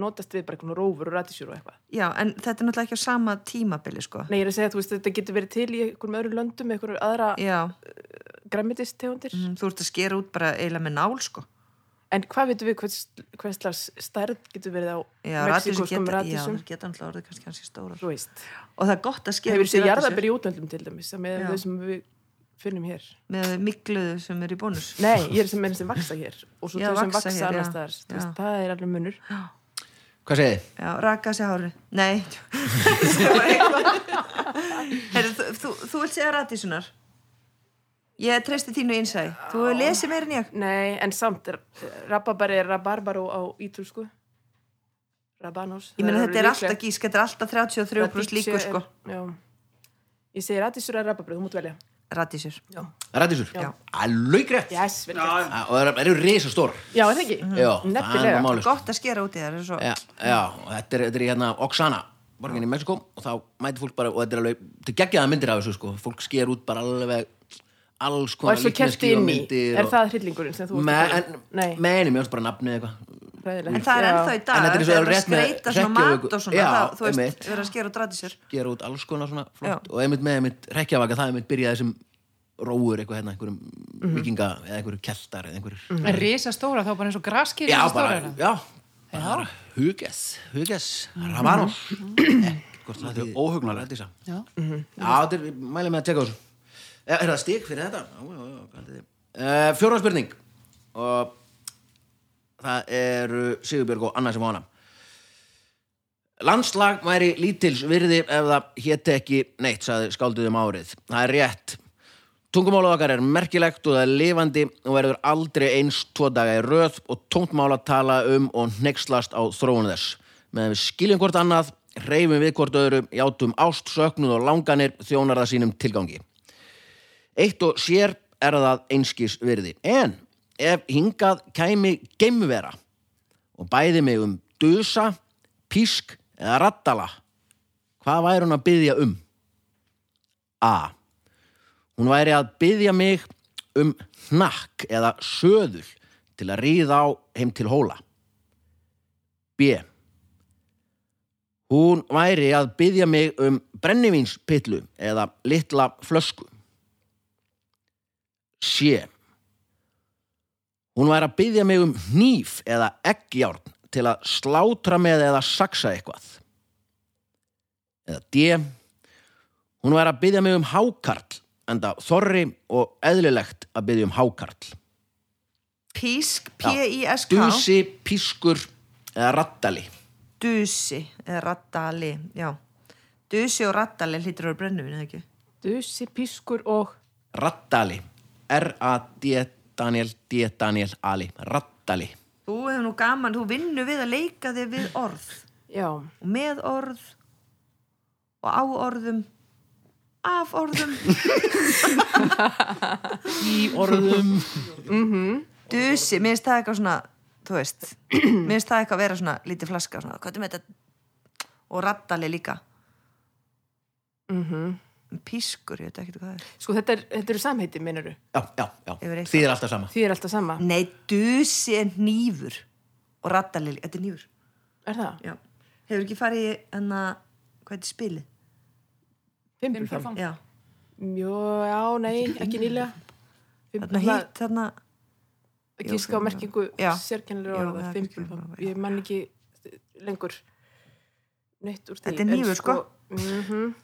notast við bara einhvern rófur og rætisjúr og eitthvað.
Já, en þetta er náttúrulega ekki á sama tímabili, sko.
Nei, ég er að segja, þú veist, þetta getur verið til í einhverjum öðrum löndum, einhverjum aðra
Já,
græmitistegundir.
mm, þú ert að skera út bara eiginlega með nál, sko.
En hvað veitum við hvers, hvers slags stærð getur verið á
Já, radísur
mexikoskum
geta, já,
rætisjum?
þær geta náttúrulega orðið kannski, kannski stórar.
Þú veist,
Og það er gott að skera
hefur
út í
séð
radísur
jarðabir í útlöndum til dæmis, með
Já.
þau sem við finnum hér.
með mikluðu sem er í bónus.
Nei, ég er sem meina sem vaksa hér og svo
Já,
þau sem
vaxa
vaksa
hér,
annars
já.
staðar. Þú
Já.
veist, Það er alveg munur.
Hvað segið þið?
Já, raka sér hári. Nei. Það var eitthvað. Heyrðu, þú, þú, þú vilt segja radísunar? Ég treysti þínu innsæði. Þú hefur lesið meira en ég.
Nei, en samt, er- rababari er rabarbaro á sko. ítúrsku. Rabanos.
Ég meina þetta er alltaf gísk, þetta er alltaf 33
brúst
líkur, sko.
Já. Ég segi radísur eða rababröð, þú mútt velja.
Radísur.
Já.
Rættisur?
Já.
Alveg rétt
Yes, vel gert.
Ah, Og það eru risastór
Já, er það ekki?
Mhm.
Já, það er
Mhm. Nefnilega.
nú málið sko.
Gott að skera út í þær. er Svo.
Já, já, og þetta er, þetta er í hérna Oksana, borgin í Mexiko og þá mæti fólk bara, og þetta er alveg þetta er geggjaða myndir af þessu sko, fólk sker út bara alveg alls
Og
konar
er svo kerti
líkneski og
inn í,
myndir
er
og-
það hryllingurinn sem þú
Me-
varst að
en-
tala um? Nei,
Meni, mér finnst bara nafnið eitthvað
hræðilegt.
En það er
Já.
ennþá í dag.
En þetta er
þegar
svo
verið að
rétt með
skreita svona
hrekkjavöku.
mat og svona.
Já,
það, þú veist,
einmitt.
verið að skera út radísur.
gera út alls konar svona flott og einmitt með einmitt rekkjavaka, það einmitt byrjaði sem róur eitthvað hérna, einhverjum vikinga eða einhverjum keltar eða einhverjum
En risastóra, þá bara eins og graskýr
Já, bara,
risastóra.
já, bara Huges, Huges, Ramanos Ekkert hvort það er
óhugnanlegt.
Já,
Já.
Mhm. þetta er, mælum með að tjekka á þessu Eh, Er það stík fyrir þetta? Já, já, já, hvað er þetta? Fjóra spurning og það eru Sigurbjörg og Anna sem á hana Landslag væri lítils virði ef það héti ekki neitt, sagði skálduðum árið. Það er rétt. Tungumálið okkar er merkilegt og það er lifandi og verður aldrei eins tvo daga í röð og tóntmál að tala um og hneykslast á þróun þess. Meðan við skiljum hvort annað, reyfum við hvort öðru, játum ást, söknuð og langanir þjónar það sínum tilgangi. Eitt og sér er það einskis virði. En ef hingað kæmi geimvera og bæði mig um dusa, písk eða rattala, hvað væri hún að byðja um? A. Hún væri að byðja mig um hnakk eða söðul til að ríða á heim til hóla. B. Hún væri að byðja mig um brennivínspillu eða litla flösku. C. Hún væri að byggja mig um hníf eða eggjárn til að slátra með eða saksa eitthvað. Eða D. Hún væri að byggja mig um hákarl, enda þorri og eðlilegt að byggja um hákarl.
Písk, P-I-S-K.
Dusi, pískur eða rattali.
Dusi, eða rattali, já. Dusi og rattali hlýtur að vera brennum, eða ekki?
Dusi, pískur og
Rattali. R-A-D Daniel D Daniel Ali. Rattali.
Þú hefur nú gaman, þú vinnur við að leika þig við orð
Já,
og með orð og á orðum af orðum
Í orðum.
Dusi, mér finnst það eitthvað svona þú veist, mér finnst það eitthvað að vera svona lítið flaska, svona, hvað er með þetta og rattali líka -hmm. Pískur, ég veit ekki hvað það er
sko þetta, er, þetta eru samheiti, meinarðu?
Já, já, já.
Yfir eitthvað.
Þið er alltaf sama.
Því er alltaf sama.
Nei, dusi er nýfur og rattali, þetta er nýfur
Er það?
Já. Hefur ekki farið í enna, hvað er þetta spilið?
Fimbulfam?
Já,
Jó, já, nei, ekki nýlega.
þarna
Fimbulfam,
hitt, þarna
gíska á merkingu
Já.
sérkennilega
Já,
orða,
það er
fimbulfam.
fimbulfamb, já.
Ég man ekki lengur neitt úr því.
Þetta er
en
hnífur, sko.
mhm.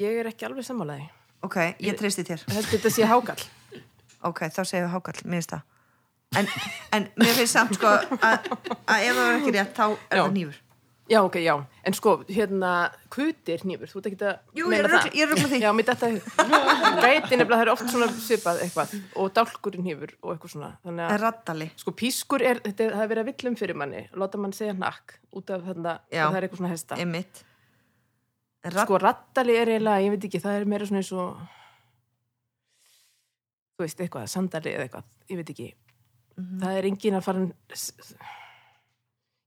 Ég er ekki alveg sammálaði.
Ok, ég treysti þér.
Heldur þetta sé hákall?
Ok, þá segjum við hákall, mér finnst það. En, en mér finnst samt sko að að ef það var ekki rétt, þá er
Já.
það nýfur.
Já, ok, já. En sko, hérna, hvutir nýfur, þú ert ekki að
Jú, ég
meina
rugla-
það.
ég rugla því.
Já, mér þetta gæti nefnilega, það er oft svona svipað eitthvað. Og dálkurinn nýfur og eitthvað svona. Þannig
En
að,
rattali.
sko, pískur er, þetta er, það er verið að villum fyrir manni. Láta mann segja nakk út af þarna,
Já.
að það er eitthvað svona hesta.
Einmitt. En ratt,
Sko, rattali er eiginlega, ég veit ekki, það er meira svona eins og, þú veist, eitthvað, sandali eða eitthvað, ég veit ekki.
Mhm.
Það er engin að fara, en-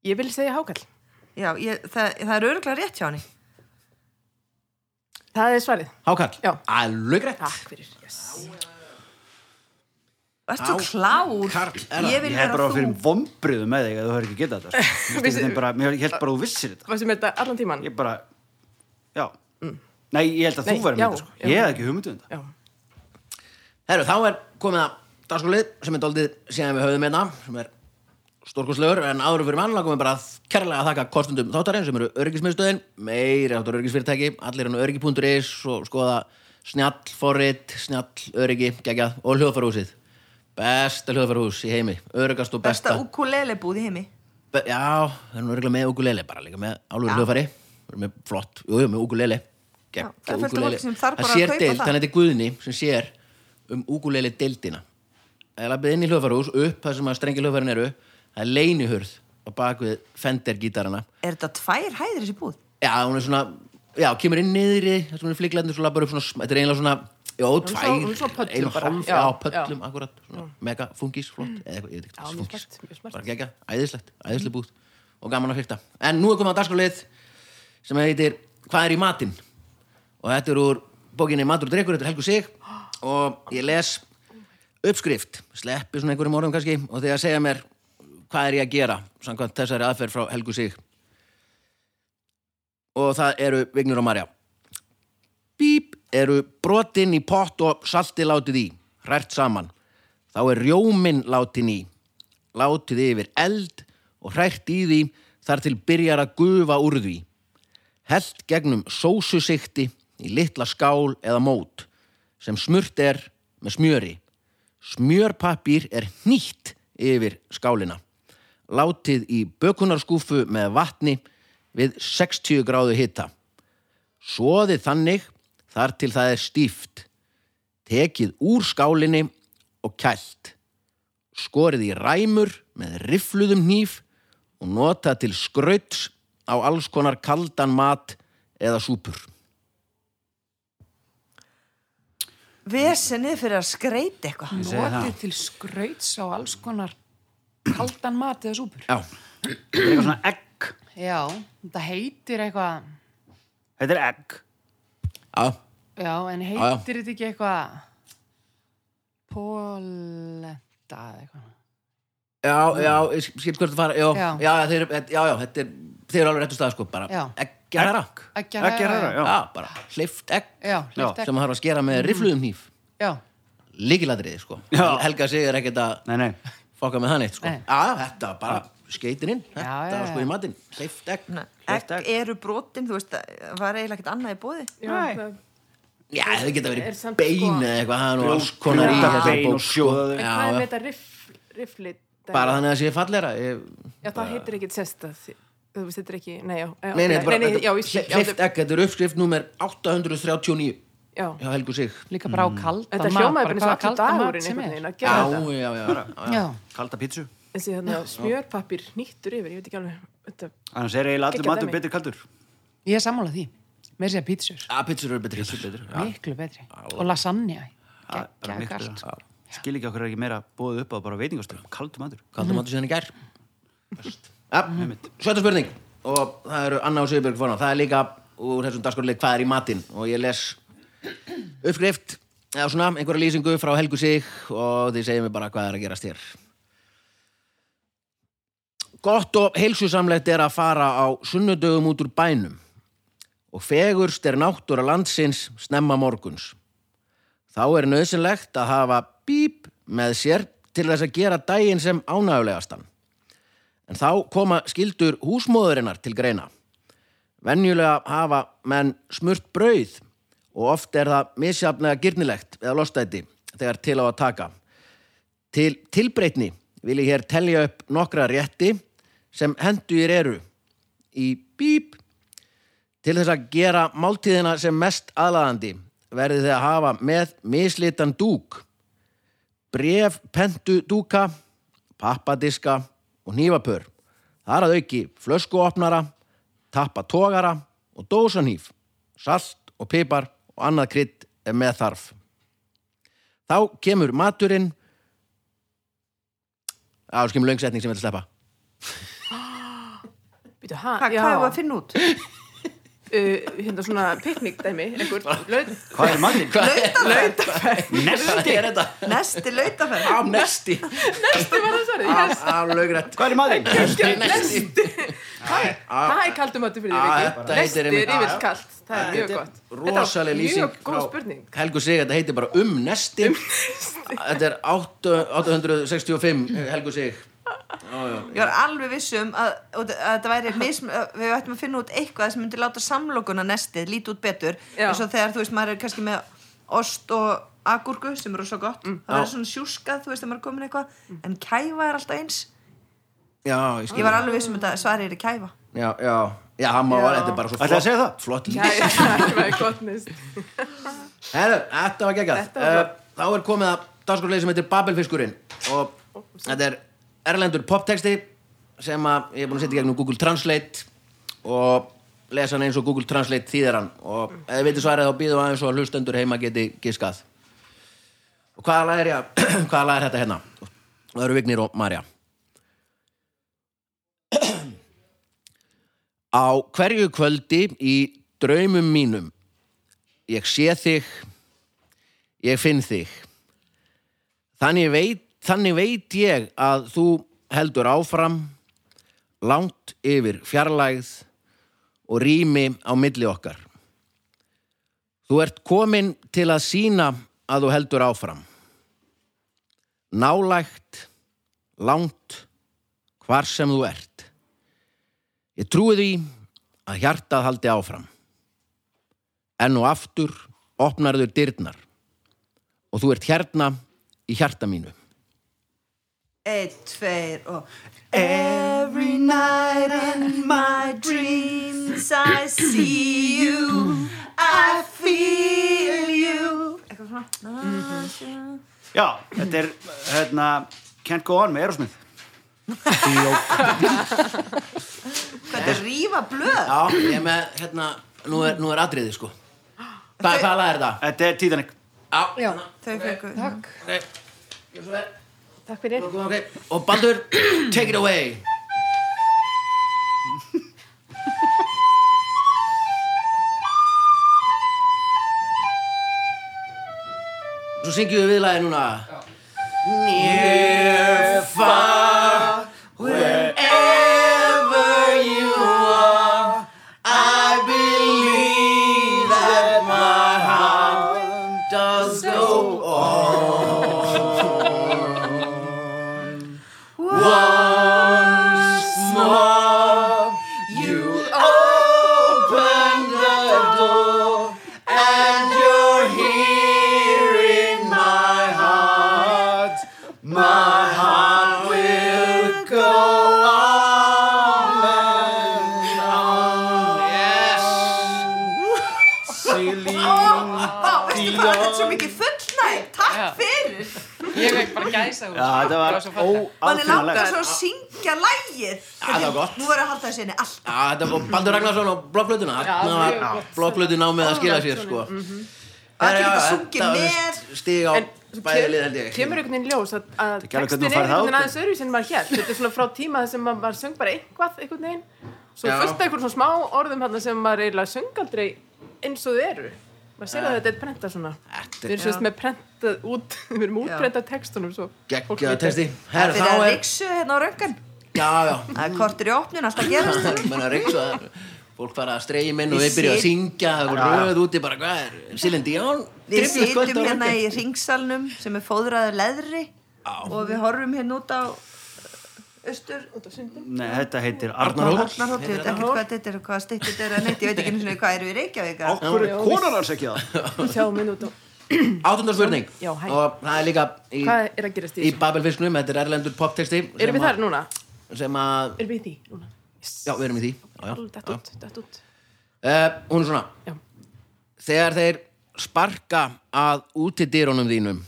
ég vil segja hákall.
já, ég, það, það er öruglega rétt hjá henni.
Það er svarið.
Hákarl.
Já.
Alveg rétt.
Takk fyrir, yes.
Ertu
Á,
klár?
Karl, er það?
ég vil
Ég hef
vera
bara
þú.
fyrir vombriðu með þig að þú hefur ekki getað þetta sko. Mér finnst einhvern veginn bara- Mér held bara að þú vissir þetta
Varstu með þetta allan tíman?
Ég bara, já Nei, ég held að
Nei,
þú verður með
já,
þetta sko.
já.
Ég hef ekki hugmyndu um þetta
Já.
Herru, þá er komið að dagskólið sem er doldið síðan við höfðum einna sem er stórkostlegur en áður en fyrir mann langum við bara að kærlega að þakka kostundum þáttarinn sem eru öryggismiðstöðin meiri áttur öryggisfyrirtæki, allir hann öryggi.is og skoða snjall forrit, snjall öryggi, geggjað og hljóðfarhúsið besta hljóðfarhús í heimi, öryggast og
Besta
besta,
ukulele búð í heimi.
Be já, það er nú öryggilega með ukulele bara líka með álfur
Já.
hljóðfari Við erum með flott, jú, jú, með ukulele
Já, það er fullt af fólki sem þarf bara að
sér
kaupa
deild,
það.
þannig að þetta er Guðni sem sér um ukulele deildina Það er lappið inn í hljóðfarhús upp þar sem að strengi hljóðfærin eru það er leinihurð á bakvið Fender gítarana
Er þetta tvær hæðir þessi búð?
Já, hún er svona, já, kemur inn niðri þar sem hún er fliklæðin, svo lappar upp svona sm- þetta er eiginlega svona, já,
er
tvær
svona- hún er svona pöllum
ein og
bara.
hálf,
Já,
já,
já.
pöllum, akkurat svona, mega fungis, flott, eða eitthvað, ég veit ekki
Já,
hvað
mjög
fungis.
smart, mjög smart.
bara gegja, æðislegt, æðisleg búð og gaman að fyrta, en nú er komið að dagskalið sem heitir Hvað er í matinn? og þetta er úr bókinni Matur og drikkur, þetta er Helgu Sig og ég les uppskrift, sleppi svona einhverjum orðum kannski og þegar segja mér hvað er ég að gera samkvæmt þessari aðferð frá Helgu Sig og það eru Vignur og Marja Bíp eru brotin í pott og salti látið í, hrært saman. Þá er rjóminn látin í, látið yfir eld og hrært í því þar til byrjar að gufa úr því. Helt gegnum sósusikti í litla skál eða mót sem smurt er með smjöri. Smjörpappír er hnýtt yfir skálina. Látið í bökunarskúfu með vatni við 60 gráðu hita. Svoðið þannig þar til það er stíft. Tekið úr skálinni og kælt. Skorið í ræmur með rifluðum hníf og nota til skrauts á alls konar kaldan mat eða súpur.
Vesenið fyrir að skreita eitthvað.
Mm.
Ég segi það.
Notið til skrauts á alls konar kaldan mat eða súpur.
Já,
Þetta er eitthvað svona egg
Já, þetta heitir eitthvað,
Þetta er egg
já,
já, en
já.
heitir þetta ekki eitthvað polenta eða eitthvað.
já, já, ég skipt hvert að fara, já, já,
Já.
já, þeir, já, já þetta er, þeir eru alveg réttu stað, sko, bara,
Já.
ekki að rak.
Ekki
Egg er það,
Já,
já
bara, hleyft egg,
Já,
Já,
hleyft
sem
ekki.
maður þarf að skera með rifluðum hníf.
Já,
Líkiladriði, sko.
Já.
Helga sig er ekkert að
Nei, nei
fokka með hann eitt sko.
Nei.
Já, þetta var bara skeitin inn Þetta
Já, já,
var sko
já.
í matinn, hleyft egg
Nei,
Kleift
Egg eru brotin, þú veist, það var eiginlega ekkert annað í bóði.
Já,
Nei.
það-
Já, það geta
Er
verið
samt
bein
sko-
eða eitthvað Það er nú alls
Brjóta
konar í þessari
bein og
bók sko.
sjóða þau.
En hvað er
já,
með
já.
þetta riff, riffli?
Bara þannig að það sé fallera ég...
Já, það heitir ekki sérstað. Þú veist, þetta er ekki, nei, já. já,
Nei, nei, þetta er bara
nei, já, ég skil, já,
hleyft egg Þetta er uppskrift númer 839
já.
hjá Helgu Sig
líka bara á
Mm.
kaldan mat.
Þetta
bara
hljómaði bara eins og
hvaða
allur
kaldan mat
dagurinn
sem
einhvern
er.
veginn
Já,
að gera þetta.
já, já, já.
Já,
Kalda pítsu
Þessi þannig að smjörpappir nýttur yfir, ég veit ekki alveg. Þetta,
Annars er eiginlega allur
Geggjað
matur
dæmi.
betur kaldur
ég er sammála því. Mér sé að pítsur,
Já, pizzur eru betri Pizzur betri
miklu betri. Og lasagna,
Það er bara
geggja
miklu
kalt.
betra. Skil ekki okkur er ekki meira bóðið upp á bara veitingastöðum Kaldur matur
Kaldum matur síðan í gær Ja,
Mm.
sjötta spurning og það eru Anna og Sigurbjörg fórna það er líka úr þessum dagskorleik hvað er í matinn og ég les uppskrift eða svona einhverja lýsingu frá Helgu Sig og þið segir mér bara hvað er að gerast hér Gott og heilsusamlegt er að fara á sunnudögum út úr bænum og fegurst er náttúra landsins snemma morguns þá er nöðsynlegt að hafa bíp með sér til þess að gera daginn sem ánægulegastan. En þá koma skildur húsmóðurinnar til greina. Venjulega hafa menn smurt brauð og oft er það misjafnlega girnilegt eða lostæti þegar til á að taka. Til tilbreytni vil ég hér telja upp nokkra rétti sem hendur eru í bíp Til þess að gera máltíðina sem mest aðlaðandi verði þið að hafa með mislitan dúk, bref pentu dúka, pappadiska og nýfapör. Þar að auki flöskuopnara, tappa tógara og dósanýf, salt og pipar og annað krydd ef með þarf. Þá kemur maturinn, á skemur löngsetning sem ég ætla að sleppa.
býtu, ha,
Hva,
já.
hvað er það að finna út?
uh, hérna svona piknik dæmi, einhver laut,
Hvað er matinn?
Nesti er þetta
Nesti lautaferð
Á nesti
nesti var það svarið,
Á,
ég
á laugrætt
Hvað er matinn?
Nesti, nesti
Það er kaldum að fyrir
Ah,
þér
þetta heitir
ekki. Lestir
einmitt- Ah,
yfir kalt, það er mjög
Þetta er
gott.
rosaleg lýsing
Mjög góð
frá-
spurning.
Helgu Sig, þetta heitir bara um nesti Þetta er 8, 865 Helgu Sig
Ég var alveg viss um að, að þetta væri mism, að við ættum að finna út eitthvað sem myndi láta samlokuna nestið líti út betur
Já.
eins og þegar þú veist maður er kannski með ost og agúrku sem eru svo gott það
Já.
verður svona sjúskað, þú veist að maður er komin eitthvað en kæfa er alltaf eins
Já, ég
ég
skil
var alveg viss um þetta svarið er í kæfa
Já, já Já, hann má,
Já.
þetta er bara svo flott
Ætlaði að segja það?
Flott
Já,
lýsing
já, það er gott nest.
Herru, þetta var geggjað
Þetta var
Eh, Þá er komið að dagskorleið sem heitir Babelfiskurinn og þetta er erlendur poptexti sem að ég er búin að setja í gegnum Google Translate og lesa hann eins og Google Translate þýðir hann og ef þið veitir svarið þá býðum aðeins og hlustendur heima geti giskað og hvaða lag er, ég, hvaða lag er þetta hérna? Það eru Vignir og Marja Á hverju kvöldi í draumum mínum ég sé þig ég finn þig þannig veit, þannig veit ég að þú heldur áfram langt yfir fjarlægð og rými á milli okkar þú ert komin til að sína að þú heldur áfram nálægt langt hvar sem þú ert ég trúi því að hjartað haldi áfram enn og aftur opnar þur dyrnar og þú ert hérna í hjarta mínu
Eitt, tveir og Every night in my dreams I see you I feel you Mm-hmm. Eitthvað svona
Já, þetta er, hérna, Can't Go On með Erosmith.
Hvað er rífa blöð?
Já, ég er með, hérna, nú er, nú er atriði sko Hva, Hvað lag er það?
Þetta er Titanic.
Já,
Já,
Þau fengu
ok,
takk.
gjörðu svo vel.
Takk fyrir.
ok Og Baldur, take it away Svo syngjum við viðlagi núna Near, far, wherever you are I believe that my heart does go on Once more, you open the door, and you're here in my heart. My heart will go on and on. Yes. Celine.
Vá, veistu hvað, þetta er svo mikið fullnæg Takk
Já.
fyrir
Ég fekk bara gæsa úr.
Já, þetta Ah, var
Manni langar
óaðfinnanlegt.
svo að syngja lægið
það var gott.
Nú er að halda þessi henni allt
Já, þetta var Baldur Ragnarsson og blokkblöðuna Þarna
mjög
var
gott.
blokkblöðu námið að skila sér sko
Allir
Herra,
geta
já,
sungið
þetta var
með.
Stig á
En svo
bæði lið held
kem-
ég
kemur einhvern veginn ljós að, að
gerðu hvernig þú
textin er
færð það
einhvern veginn
ákveð.
aðeins öðru sem maður hér. Þetta er svona frá tíma þar sem maður, maður söng bara eitthvað einhvern veginn. Svo
Já.
fullt af einhvern svona smá orðum hann sem maður eiginlega söng aldrei eins og þau eru. Maður sér að þetta er prentað svona.
Þetta
Við erum sérst með prentað út, við erum útprentað textunum svo. Fólk
Gekkjaða
veit
texti Herra,
Þetta
þá
er að
er
riksu hérna á röngan
Já, já,
Það er kortur í opnun, alltaf gerast
menna reyksu að fólk fara að streyja minn og
Við
við byrja að
sit-
syngja það voru röð úti bara hvað er Silin Dion
Við sitjum hérna í ringsalnum sem er fóðraður leðri og við horfum hérna út á uh, austur
Út á sundin.
Nei, þetta heitir
Arnar
Arnar
Hól.
Hól.
Arnarhótt, ég veit ekki hvað þetta er og hvað styttið þetta er að neitt, ég veit ekki einu sinni hvað eru í Reykjavík að-
Okkur er konan hans ekki það.
Sjáum við út á.
áttundar spurning
Já, hæ.
og það er líka í,
Hvað er að gerast í
í
þessu?
Babelfisknum þetta er erlendur poptexti
Erum við þar núna?
sem að
Erum við í því núna?
já við erum í því já,
Alveg
já,
dætt út, dætt út.
Uh, hún er svona
Já.
Þegar þeir sparka að útidýrunum þínum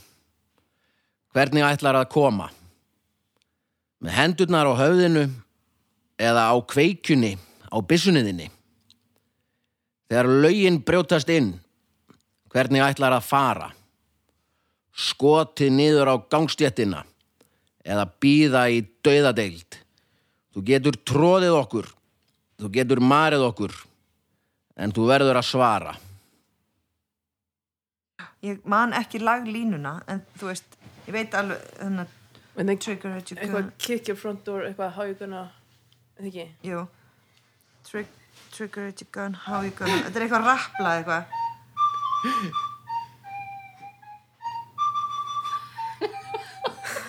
hvernig ætlar að koma með hendurnar á höfðinu eða á kveikjunni á byssunniðinni Þegar lögin brjótast inn hvernig ætlar að fara skotið niður á gangstjettina eða býða í dauðadeild Þú getur tróðið okkur Þú getur marið okkur En þú verður að svara
ég man ekki laglínuna en þú veist, ég veit alveg hérna, þannig
En það
trigger at you
eitthvað kick your front door, eitthvað how you gonna, eða ekki?
Jú Trig, Trigger at your gun, how you gonna Þetta er eitthvað rappla eitthvað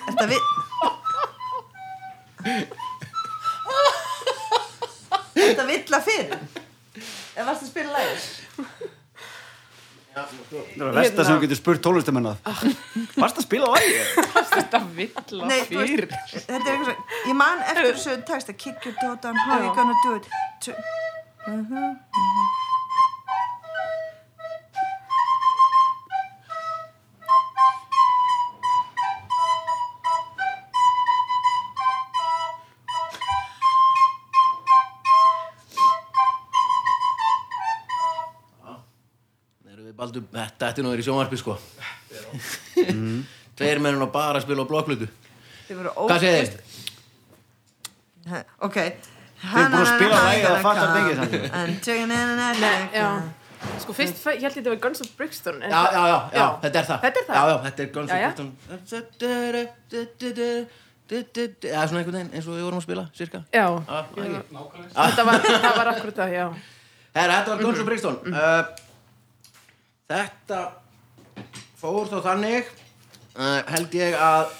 Þetta við Þetta vill að fyrir Ef varst að spila lægir
Það er að versta sem þú getur spurt tólestamennað. Varst að spila lagi?
Þetta vill að
Nei, þú
fyrir.
veist, þetta er eitthvað svo Ég man eftir þessu texta Kick your door down, how you gonna do it Tr-
Erum við Baldur, þetta ætti nú að vera í sjónvarpi sko Tveir menn og bara að spila á blokklutu
Þið voru
Hvað segir þið?
Ha, ok
Þið er búin að spila lagið að fatta mikið samt.
mikið
Já, sko fyrst, fe- ég held ég þetta var Guns of Brixton
Já, já, já, já, þetta er það
Þetta er það?
Já, já, þetta er Guns
Já, já.
N' Roses Það er svona einhvern veginn eins og við vorum að spila, cirka
Já,
Já, ekki.
þetta var, það var akkur það, já
Herra, þetta var Guns og Brixton uh, Þetta fór þá þannig uh, held ég að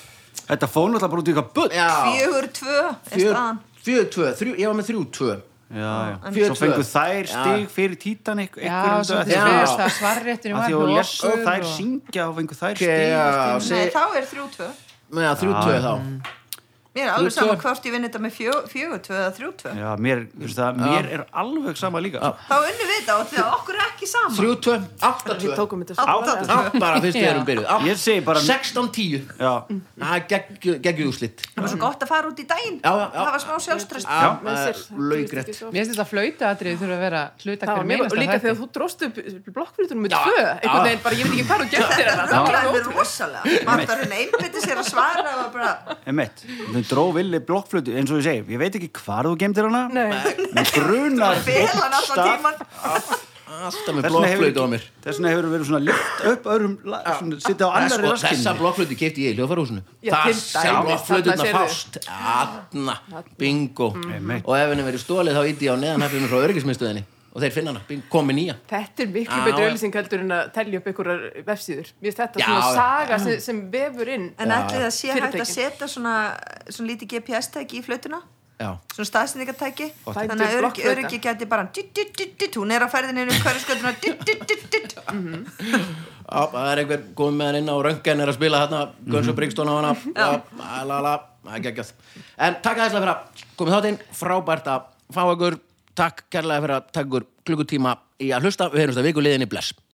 Þetta fór náttúrulega bara út í eitthvað bull.
já,
Fjögur tvö er
fjör,
staðan
fjör, tvö, þrjú, ég var með þrjú, tvö
Já, já.
Fjör
Svo
tvö.
fengu þær stig
Já.
fyrir Titanic
Já,
einhverjum
svo
döð.
Já.
þið veist að
Af
svarréttunum var
því að hún
hjá
lest
okkur
þær
og-
syngja og fengu þær stig.
Já,
Nei,
seg-
þá er þrjú tvö
já, þrjú, tvö þá
Mér er
Þrjú
alveg
tvö.
sama hvort ég vinn þetta með fjö- fjögur tvö eða þrjú tvö
Já, mér, þú veist það, mér er alveg sama líka.
Þá unnum við þetta og því að okkur er ekki sama
Þrjú, tvö, átta,
Við
tvö
tókum þetta
Átta
svona.
tvö.
Já, bara fyrst við
Já.
erum byrjuð
Ég segi bara-
16, 10
Já,
Það er geggju- geggjuð úrslit
Það var svo gott að fara út í daginn
Já, já, já.
Það var smá sjálfströst
Já,
Með
það
sér,
er
það gerist
laugrætt
ekki svo oft.
Mér finnst þetta flautu atrið þurfa að vera hluta
Það var
hver
mjög,
meinast
og líka þegar þú dróst upp blokkflutunum með
Já,
tvö,
já.
einhvern veginn bara, ég veit ekki hvað þú gerðir þetta.
Það var alveg rosalega Maður þarf henni einbytti sér að svara og bara
emitt. Þau dró villi blokkflötu, eins og ég segi, ég veit ekki hvar þú gemdir hana.
Nei,
Mér grunar
Fel hann
einn
allan
stað.
tíman
Alltaf með
Þess vegna hefur-
blokkflötu á mér
Þess vegna hefur verið svona lyft upp öðrum, la- svona, sitta á
Sko,
annari
Þessa
raskinni.
blokkflötu kefti ég í hljófarhúsinu
Já,
Það
til
sem
dæmis,
blokkflötuna
þarna
fást Atna, bingo
Mm.
Einmitt.
Og ef henni verið stólið þá íti ég á neðanhafnum frá öryggismiðstöðinni og þeir finna hana, bing- komin nýja
þetta er miklu
Já,
betur
já.
auðlýsing heldur en að tellja upp einhverjar vefsíður. Mér finnst þetta
Já,
svona
já.
saga sem, sem vefur inn.
En ætli það sé hægt að
Fyrirtækin.
setja svona, svona lítið GPS-tæki í flötuna
Já,
svona staðsendingartæki
Gott.
þannig að
Bætir
öryggi,
blokkflauta.
öryggi gæti bara dut, dut, dut, dut, hún er á ferðinni um hverju skölduna dut, dut, dut, dut.
Á, það er einhver komið með hann inn á röngan er að spila hérna, Guns og Brigstón á hana Já, la, la, það er geggjað En takk aðeinslega fyrir að komið þáttinn frábært að fá ykkur Takk kærlega fyrir að taka ykkur klukkutíma í að hlusta Við heyrumst að viku liðinni, bless